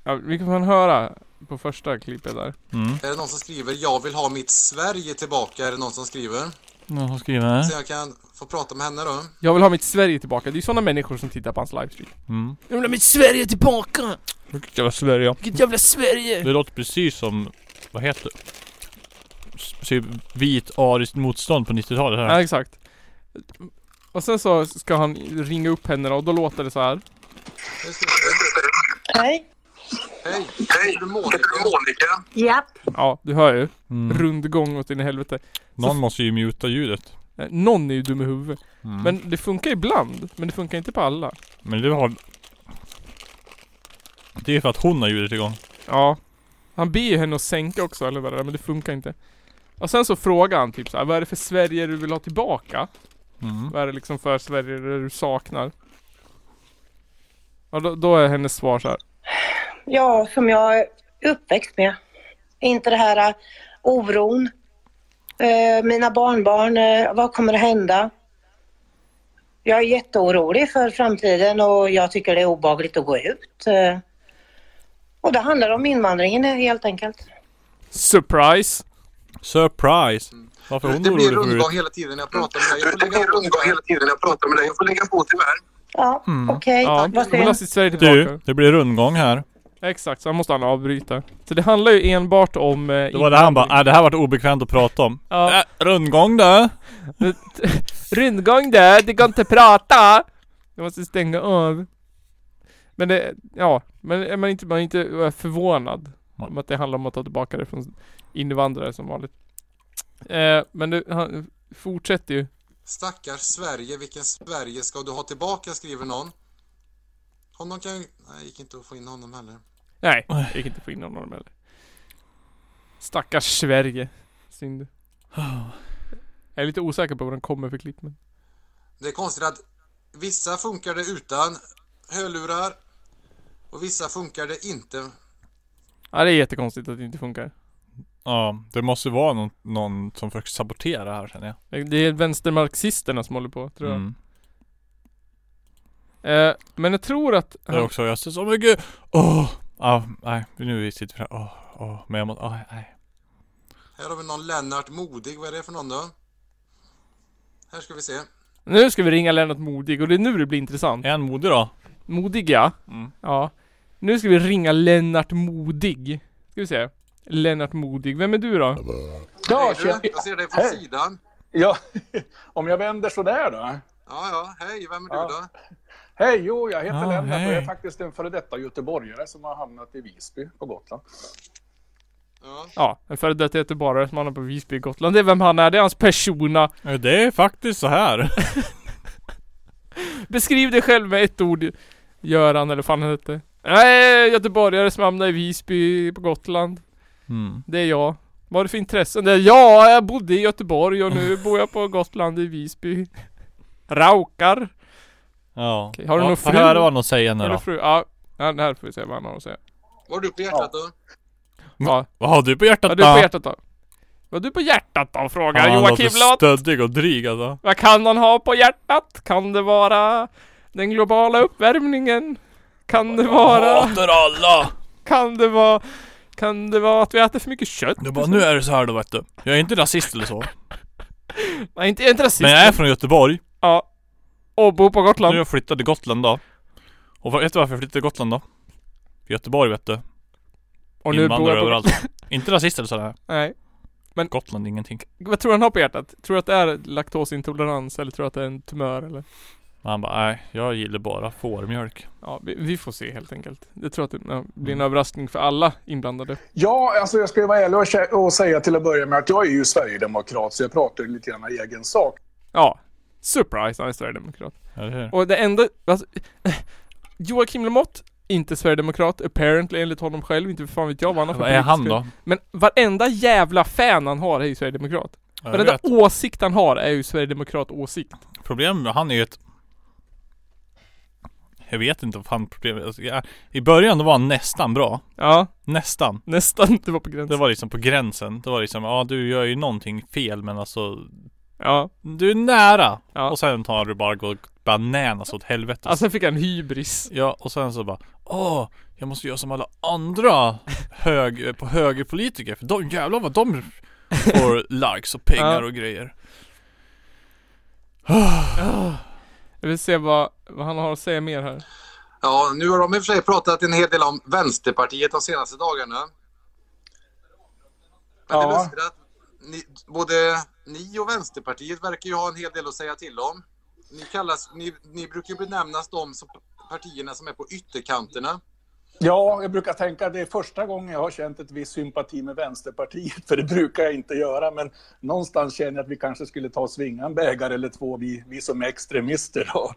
ja, vi kan höra på första klippet där. Mm. Är det någon som skriver jag vill ha mitt Sverige tillbaka? Är det någon som skriver? Någon som skriver här? Så jag kan få prata med henne då. Jag vill ha mitt Sverige tillbaka. Det är ju sådana människor som tittar på hans livestream. Mm. Jag vill ha mitt Sverige tillbaka! Vilket jävla Sverige. Vilket jävla Sverige! Det låter precis som, vad heter det? S- Typ vit ariskt motstånd på 90-talet här. Ja, exakt. Och sen så ska han ringa upp henne och då låter det så här. Nu ska vi se. Hej. Hej! Hej! Monica. Japp. Ja, du hör ju. Mm. Rundgång åt in i helvete. Någon måste ju muta ljudet. Eh, Någon är ju dum i huvudet. Mm. Men, Men det funkar ibland. Men det funkar inte på alla. Men det har... Det är för att hon har ljudet igång. Ja. Han ber ju henne att sänka också eller vad det är, men det funkar inte. Och sen så frågar han typ så här, vad är det för Sverige du vill ha tillbaka? Mm. Vad är det liksom för Sverige du saknar? Och då, då är hennes svar så här. Ja, som jag är uppväxt med. Inte det här eh, oron. Eh, mina barnbarn, eh, vad kommer att hända? Jag är jätteorolig för framtiden och jag tycker det är obagligt att gå ut. eh. Och det handlar om invandringen eh, helt enkelt. Surprise! Surprise! Varför är hon Det blir orolig rundgång för hela tiden när jag pratar med dig. Jag får lägga på hela tiden när jag pratar med dig. Jag får lägga på tyvärr. Ja, okej. Ja, Vad hon har synd. sitt Sverige tillbaka. Du, det blir rundgång här. Exakt, så han måste han avbryta. Så det handlar ju enbart om... eh, Det var det han invandring. bara, äh, det här vart obekvämt att prata om. Ja. Äh, rundgång då. Rundgång där, det går inte att prata! Jag måste stänga av. Men det, ja, men är man inte, man är inte eh, förvånad. Nej. Om att det handlar om att ta tillbaka det från invandrare som vanligt. Eh, men det, han fortsätter ju. Stackars Sverige, vilken Sverige ska du ha tillbaka skriver någon. Honom kan ju... Nej, gick inte att få in honom heller. Nej, jag gick inte få in honom heller. Stackars Sverige. Synd. Jag är lite osäker på vad den kommer för klipp men. Det är konstigt att vissa funkar det utan hörlurar och vissa funkar det inte. Ja det är jättekonstigt att det inte funkar. Ja, det måste vara någon, någon som försöker sabotera här känner jag. Det är vänstermarxisterna som håller på tror jag. Mm. Eh, men jag tror att... Det är också, jag ser så mycket, åh! ja, nej, nu är vi sitter vi här, åh, åh, men jag måste, åh, nej. Här har vi någon Lennart Modig. Vad är det för någon då? Här ska vi se. Nu ska vi ringa Lennart Modig och det är nu det blir intressant. Är han modig då? Modig ja. Mm. Ja. Nu ska vi ringa Lennart Modig. Ska vi se. Lennart Modig, vem är du då? Ja, Hej du, jag ser dig från Hej. sidan. ja, om jag vänder sådär då. Ja, ja, hej, vem är Ja. du då? Hej, jo, jag heter Ja, Lennart och jag hej. är faktiskt en före detta göteborgare som har hamnat i Visby på Gotland. Ja. Ja, en före detta göteborgare som hamnar på Visby, Gotland. Det är vem han är, det är hans persona. Ja, Det är faktiskt så här. Beskriv dig själv med ett ord. Göran eller vad fan han hette. Nej, göteborgare som hamnar i Visby på Gotland. Mm. Det är jag. Vad har du för intressen? Det är ja, jag bodde i Göteborg och nu bor jag på Gotland i Visby. Raukar. Ja. Okej, har du ja, någon får fru? höra vad han säger nu Eller då. fru? Ja, ja, det här får vi se vad han har att säga. Vad har du på hjärtat då? Ja, Vad har du på hjärtat vad har du på hjärtat då? Vad har du på hjärtat då? Frågar Ja, han Joakim låter Lath. stöddig och dryg alltså. Vad kan han ha på hjärtat? Kan det vara den globala uppvärmningen? Kan det vara... Hatar alla! Kan det vara... Kan det vara att vi äter för mycket kött? Du bara, nu är det så här då vet du. Jag är inte rasist eller så. Nej, inte, jag är inte rasist. Men jag är från Göteborg. Ja. Och bor på Nu har Gotland. jag flyttat till Gotland då. Och vet du varför jag flyttade till Gotland då? Göteborg vet du. Och nu bor Invandrare jag på Gotland. överallt. inte rasist eller sådär. Nej. Gotland ingenting. Vad tror du han har på hjärtat? Tror du att det är laktosintolerans eller tror du att det är en tumör eller? Men han bara, nej, jag gillar bara fårmjölk. Ja, vi, vi får se helt enkelt. Jag tror att det ja, blir Mm. en överraskning för alla inblandade. Ja, alltså jag ska ju vara ärlig och kä- och säga till att börja med att jag är ju sverigedemokrat så jag pratar ju lite grann i egen sak. Ja. Surprise, han är sverigedemokrat. Eller hur? Och det enda, alltså, Joakim Lamotte, inte sverigedemokrat, apparently enligt honom själv, inte fan vet jag vad han har för Vad är han politisk- då? Men varenda jävla fan han har är ju sverigedemokrat. Jag Varenda vet. åsikt han har är ju sverigedemokrat-åsikt. Problemet med han är ju ett... Jag vet inte vad fan problemet alltså, jag, I början då var han nästan bra. Ja, Nästan. nästan, det var på gränsen. Det var liksom på gränsen. Det var liksom, ja du gör ju någonting fel men alltså Ja. Du är nära! Ja. Och sen tar du bara gå bananas åt helvete. Alltså fick han hybris. Ja, och sen så bara Åh, jag måste göra som alla andra hög, på högerpolitiker för de jävlar vad de får likes och pengar Ja. och grejer. Jag vill se vad, vad han har att säga mer här. Ja, nu har de i och för sig pratat en hel del om Vänsterpartiet de senaste dagarna. Men det är Ja. lustigt att ni, både ni och Vänsterpartiet verkar ju ha en hel del att säga till om. Ni, kallas, ni, ni brukar ju benämnas de som, partierna som är på ytterkanterna. Ja, jag brukar tänka att det är första gången jag har känt ett visst sympati med Vänsterpartiet, för det brukar jag inte göra, men någonstans känner jag att vi kanske skulle ta och svinga en bägare eller två, vi, vi som är extremister. Då.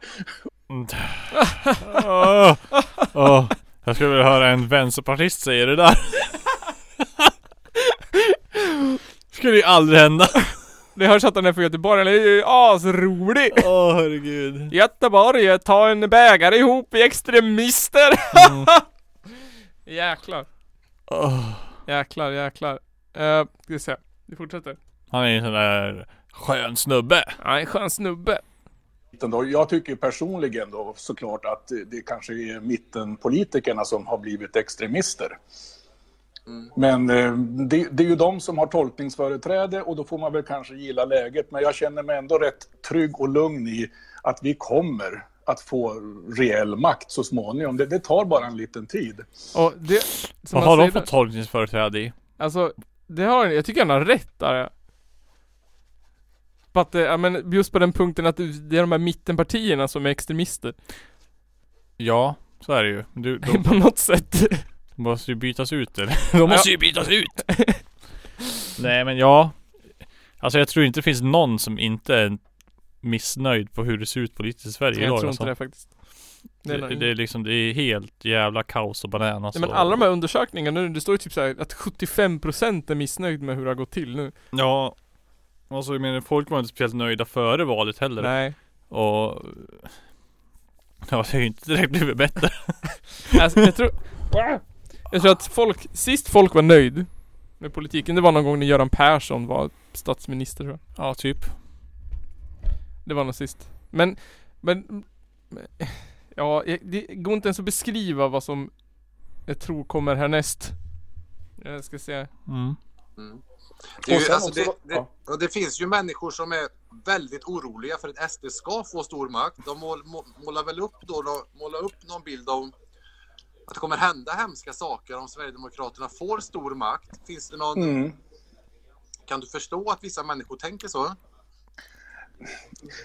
Åh, åh. Jag skulle vilja höra en vänsterpartist säga det där. skulle ju aldrig hända. Det hörs att han är från Göteborg, eller hur? Asrolig! Åh herregud. Mm. Göteborg, ta en bägare ihop, vi är extremister! Jäklar. Åh. Jäklar, jäklar. Uh, ska vi se. Vi fortsätter. Han är ju en sån där skön snubbe. Han är en skön snubbe. Utan Då, jag tycker personligen då såklart att eh, det kanske är mittenpolitikerna som har blivit extremister. Men eh, det, det är ju de som har tolkningsföreträde och då får man väl kanske gilla läget. Men jag känner mig ändå rätt trygg och lugn i att vi kommer att få reell makt så småningom. Det, det tar bara en liten tid. Och det... Som Vad han har de säger för där- tolkningsföreträde i? Alltså, det har jag tycker han har rätt där. På att, det- ja men just på den punkten att det det är de här mittenpartierna som är extremister. Ja, så är det ju. Du, de på något sätt. måste ju bytas ut eller? De måste ju bytas ut! Nej men ja. Alltså jag tror inte det finns någon som inte är missnöjd på hur det ser ut politiskt i Sverige Jag idag tror alltså. inte det faktiskt. Det är Det, nog- det är liksom, det är helt jävla kaos och bananas Nej, men och- alla de här undersökningarna nu, det står ju typ såhär att 75% är missnöjd med hur det har gått till nu. Ja Alltså jag menar folk var inte speciellt nöjda före valet heller Nej. Och Ja det har ju inte direkt blivit bättre Alltså, jag tror... Jag tror att folk, sist folk var nöjd med politiken, det var någon gång när Göran Persson var statsminister tror jag. Ja typ Det var nog sist. Men, men, men ja, jag- det går inte ens att beskriva vad som jag tror kommer härnäst. Jag ska se. mm. Det, är Och ju, sen alltså, också- det, det, ja. och det finns ju människor som är väldigt oroliga för att SD ska få stor makt. De mål, må- målar väl upp, då, då, målar upp någon bild om att det kommer hända hemska saker om Sverigedemokraterna får stor makt. Finns det någon, Mm. Kan du förstå att vissa människor tänker så?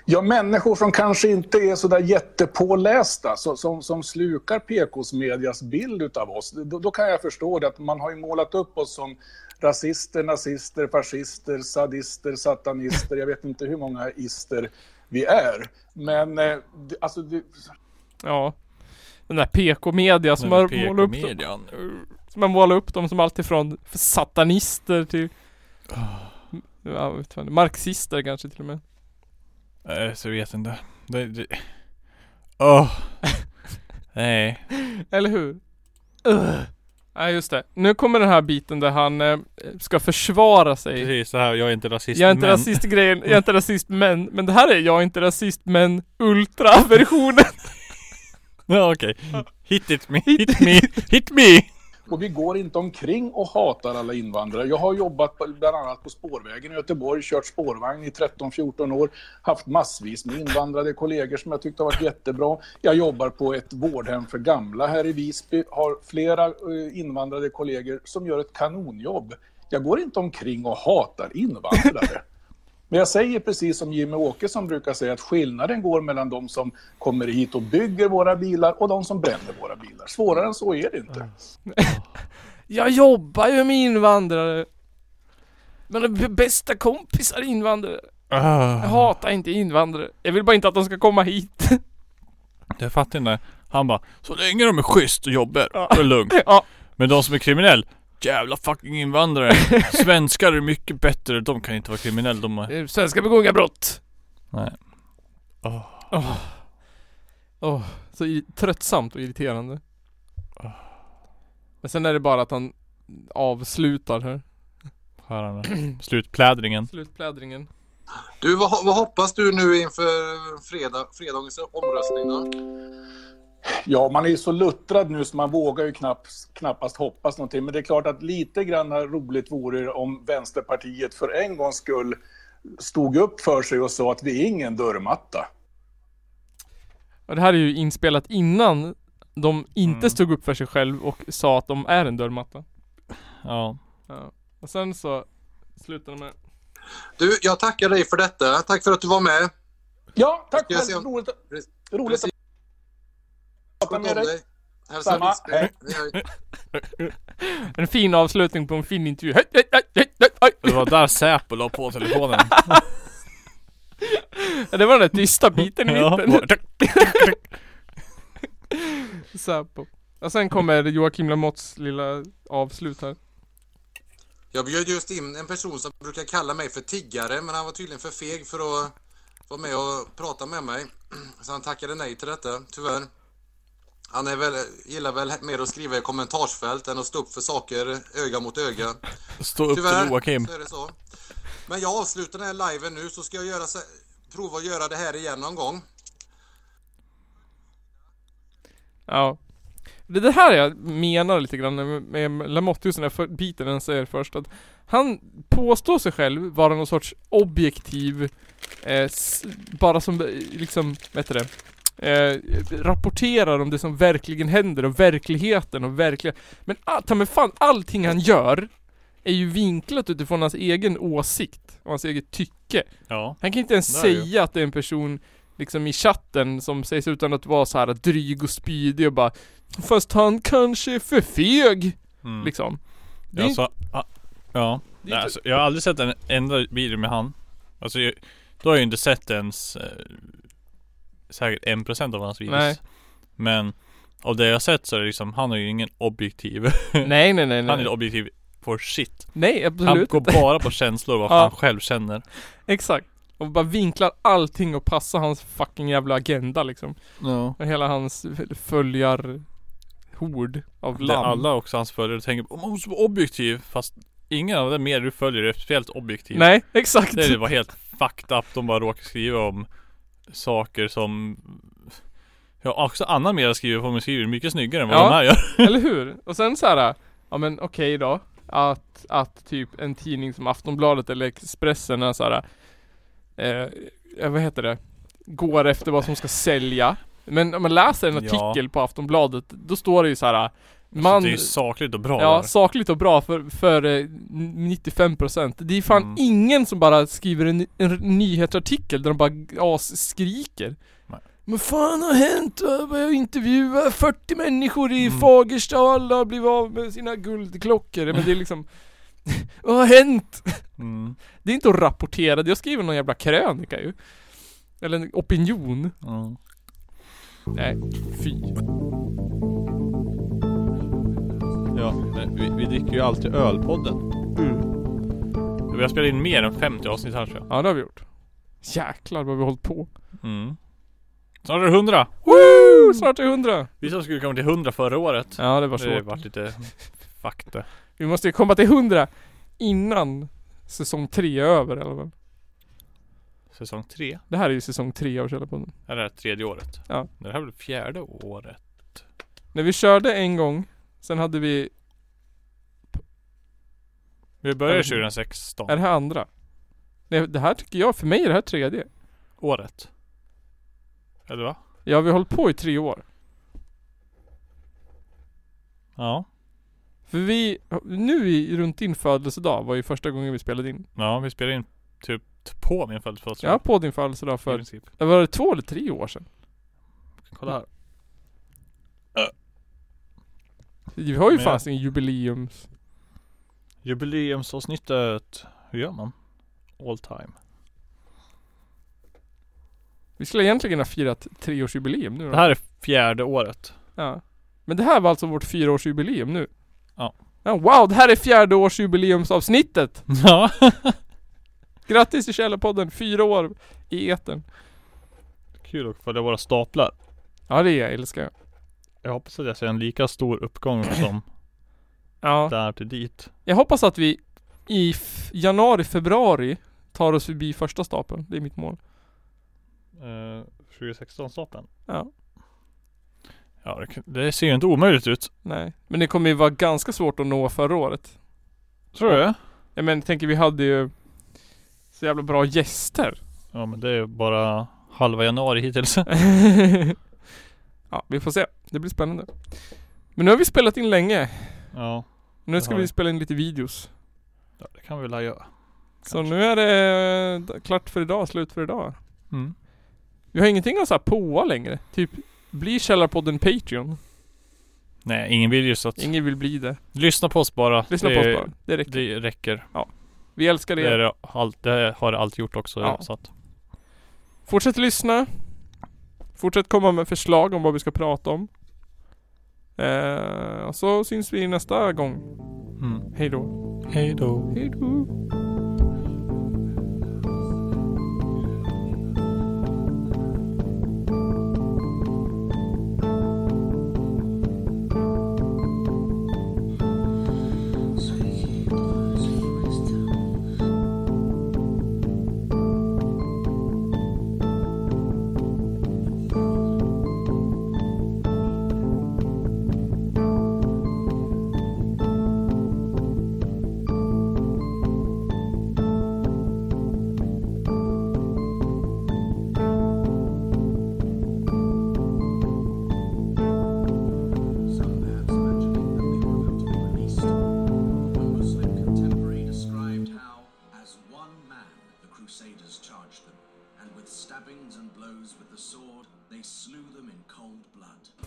Ja, människor som kanske inte är så där jättepålästa, så, som, som slukar PKs medias bild av oss. Då, då kan jag förstå det, att man har ju målat upp oss som rasister, nazister, fascister, sadister, satanister. Jag vet inte hur många ister vi är. Men eh, det- alltså, det, Ja. Den där PK-media som har målat upp dem. median Som har målat upp dem som alltifrån satanister till... Ja, vet fan, marxister kanske till och med. Nej så jag vet inte det, det... Åh. Nej Eller hur? Ugh. Nej just det. Nu kommer den här biten där han eh, ska försvara sig. Precis så här, jag är inte rasist Jag är inte men... rasist grejen, jag är inte rasist men, men det här är jag är inte rasist men ultra-versionen. Ja okej Hit it me, hit me, hit me! Och vi går inte omkring och hatar alla invandrare. Jag har jobbat på, bland annat på spårvägen i Göteborg, kört spårvagn i 13-14 år, haft massvis med invandrade kollegor som jag tyckte har varit jättebra. Jag jobbar på ett vårdhem för gamla här i Visby, har flera eh, invandrade kollegor som gör ett kanonjobb. Jag går inte omkring och hatar invandrare. Men jag säger precis som Jimmy Åkesson brukar säga att skillnaden går mellan de som kommer hit och bygger våra bilar och de som bränner våra bilar. Svårare än så är det inte. Jag jobbar ju med invandrare. Mina b- bästa kompisar är invandrare. Jag Jaha. hatar inte invandrare. Jag vill bara inte att de ska komma hit. Jag fattar inte Han bara Så länge de är schysst och jobbar, då är det lugnt Ja, Men de som är kriminell Jävla fucking invandrare Svenskar är mycket bättre, de kan inte vara kriminella de är... eh, svenskar begår inga brott. Nej Åh. Åh. Åh, så i- tröttsamt och irriterande. Men sen är det bara att han avslutar här. Här har den. Slutplädringen Slutplädringen. Du, vad, ho- vad hoppas du nu inför fredag, fredagens omröstning då? Ja, man är ju så luttrad nu så man vågar ju knappt, knappast hoppas någonting. Men det är klart att lite grann roligt vore det om Vänsterpartiet för en gångs skull stod upp för sig och sa att vi är ingen dörrmatta. Och det här är ju inspelat innan de inte stod upp för sig själv och sa att de är en dörrmatta. Ja Ja. Och sen så slutar de med Du, jag tackar dig för detta. Tack för att du var med. Ja, tack Ska jag se själv. om- Roligt, Precis. roligt att prata Sköt med om dig. dig. Hälsa Samma. Lisbeth. Hej. Hej, hej. en fin avslutning på en fin intervju. Hej, hej, hej, hej, hej, hej. Det var där Säpo la på telefonen Ja, Det var den där tysta biten i Ja. mitten. Säpo. Och sen kommer Joakim Lamotts lilla avslut här. Jag bjöd just in en person som brukar kalla mig för tiggare, men han var tydligen för feg för att vara med och prata med mig. Så han tackade nej till detta, tyvärr. Han är väl, gillar väl mer att skriva i kommentarsfält än att stå upp för saker öga mot öga. Stå upp till Joakim. så är det så. Men jag avslutar den här liven nu så ska jag göra, så- prova att göra det här igen någon gång. Ja. Det är det här jag menar lite grann med Lamotte, just den här för- biten han säger först att han påstår sig själv vara någon sorts objektiv, eh, s- bara som eh, liksom, vad heter det? Eh, rapporterar om det som verkligen händer och verkligheten och verkliga Men ah, ta mig fan, allting han gör är ju vinklat utifrån hans egen åsikt och hans eget tycke. Ja. Han kan inte ens Det är det ju. säga att det är en person liksom i chatten som sägs utan att vara så här dryg och spydig och bara Fast han kanske är för feg, Mm. liksom. Det är Jag inte- sa, ah, ja. det är Nej, inte- alltså, jag har aldrig sett en enda video med han. Alltså, jag, då har jag ju inte sett ens eh, säkert 1% av hans videos. Nej. Men av det jag har sett så är det liksom, han är ju ingen objektiv. nej, nej, nej, Han är nej. objektiv for shit. Nej, Han absolut går inte. bara på känslor och vad Ja. han själv känner. Exakt. Och bara vinklar allting och passar hans fucking jävla agenda liksom. Ja. Och hela hans följar hord av Det lamm. alla också hans följare tänker på, man måste vara objektiv. Fast ingen av de medier du följer är speciellt objektiv. Nej, exakt. Det är det var helt fucked up. De bara råkar skriva om saker som Ja, också annan media skriver på men skriver mycket snyggare än vad Ja. de här gör. Eller hur? Och sen så här, ja men okej då. Att, att typ en tidning som Aftonbladet eller Expressen är så här, eh, eh, vad heter det? Går efter vad som ska sälja. Men om man läser en Ja. artikel på Aftonbladet, då står det ju så här. Man, Man, det är ju sakligt och bra. ja, där. sakligt och bra för, för eh, 95% Det är fan Mm. ingen som bara skriver en, en nyhetsartikel där de bara asskriker Nej. Men fan har hänt? Jag intervjuar 40 människor i Mm. Fagersta och alla har blivit av med sina guldklockor Men det är liksom Vad har hänt? Mm, Det är inte att rapportera, det är att skriva någon jävla krönika ju Eller en opinion ja. Nej, fy ja men vi, vi dricker ju alltid ölpodden. Mm. Vi har spelat in mer än 50 avsnitt här tror jag. Ja det har vi gjort Jäklar vad vi har hållit på Mm. Snart är det 100. Woo! Snart är 100! Vi som skulle komma till 100 förra året. Ja det var det har svårt varit lite fucked det. Vi måste ju komma till 100 innan säsong 3 är över eller vad? Säsong 3. Det här är ju säsong 3 av Källarpodden. Är det här tredje året? Ja. Det här blir fjärde året. När vi körde en gång, sen hade vi... Vi började 2016. Är det här andra? Nej, det här tycker jag, för mig är det här tredje. året? Eller va? Ja, vi har hållit på i tre år. Ja. För vi, nu i, runt din födelsedag var ju första gången vi spelade in. Ja, vi spelade in typ på min födelsedag. tror Ja, jag. på din födelsedag I för, princip. var det två eller tre år sedan? Kolla här. Vi har ju Men fast en jubileums... Jubileumsavsnittet. Hur gör man? All time. Vi skulle egentligen ha firat treårsjubileum nu då. Det här är fjärde året. Ja. Men det här var alltså vårt fyraårsjubileum nu? Ja. ja wow, det här är fjärdeårsjubileumsavsnittet! Ja. Grattis till Källarpodden, fyra år i etern. Kul att följa våra staplar. Ja det är jag, älskar jag. Jag hoppas att jag ser en lika stor uppgång som Ja. där till dit. Jag hoppas att vi i f- januari, februari tar oss förbi första stapeln. Det är mitt mål. Eh, 2016-stapeln. Ja. Ja, det, kan- det ser ju inte omöjligt ut. Nej. Men det kommer ju vara ganska svårt att nå förra året. Tror du det? Jag men tänker vi hade ju så jävla bra gäster. Ja, men det är bara halva januari hittills. ja, vi får se. Det blir spännande. Men nu har vi spelat in länge. ja. Nu Det ska har vi vi. spela in lite videos. Ja, det kan vi väl göra. Så nu är det eh, klart för idag, slut för idag. Mm. Vi har ingenting att så här påa längre. Typ, bli Källarpodden Patreon. Nej, ingen vill ju så att... Ingen vill bli det. Lyssna på oss bara. Lyssna det, på oss bara. Det räcker. Det räcker. Vi älskar Det, er. är det, all, det har det alltid gjort också. Ja. Så att, Fortsätt lyssna. Fortsätt komma med förslag om vad vi ska prata om. Eh, och så syns vi nästa gång. mm. Hej då. Hej då. Hej då.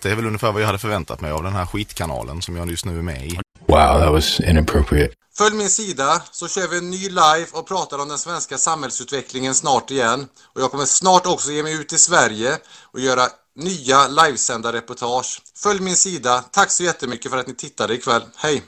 Det är väl ungefär vad jag hade förväntat mig av den här skitkanalen som jag just nu är med i. Wow, that was inappropriate. Följ min sida så kör vi en ny live och pratar om den svenska samhällsutvecklingen snart igen. Och jag kommer snart också ge mig ut i Sverige och göra nya livesända reportage. Följ min sida. Tack så jättemycket för att ni tittade ikväll. Hej!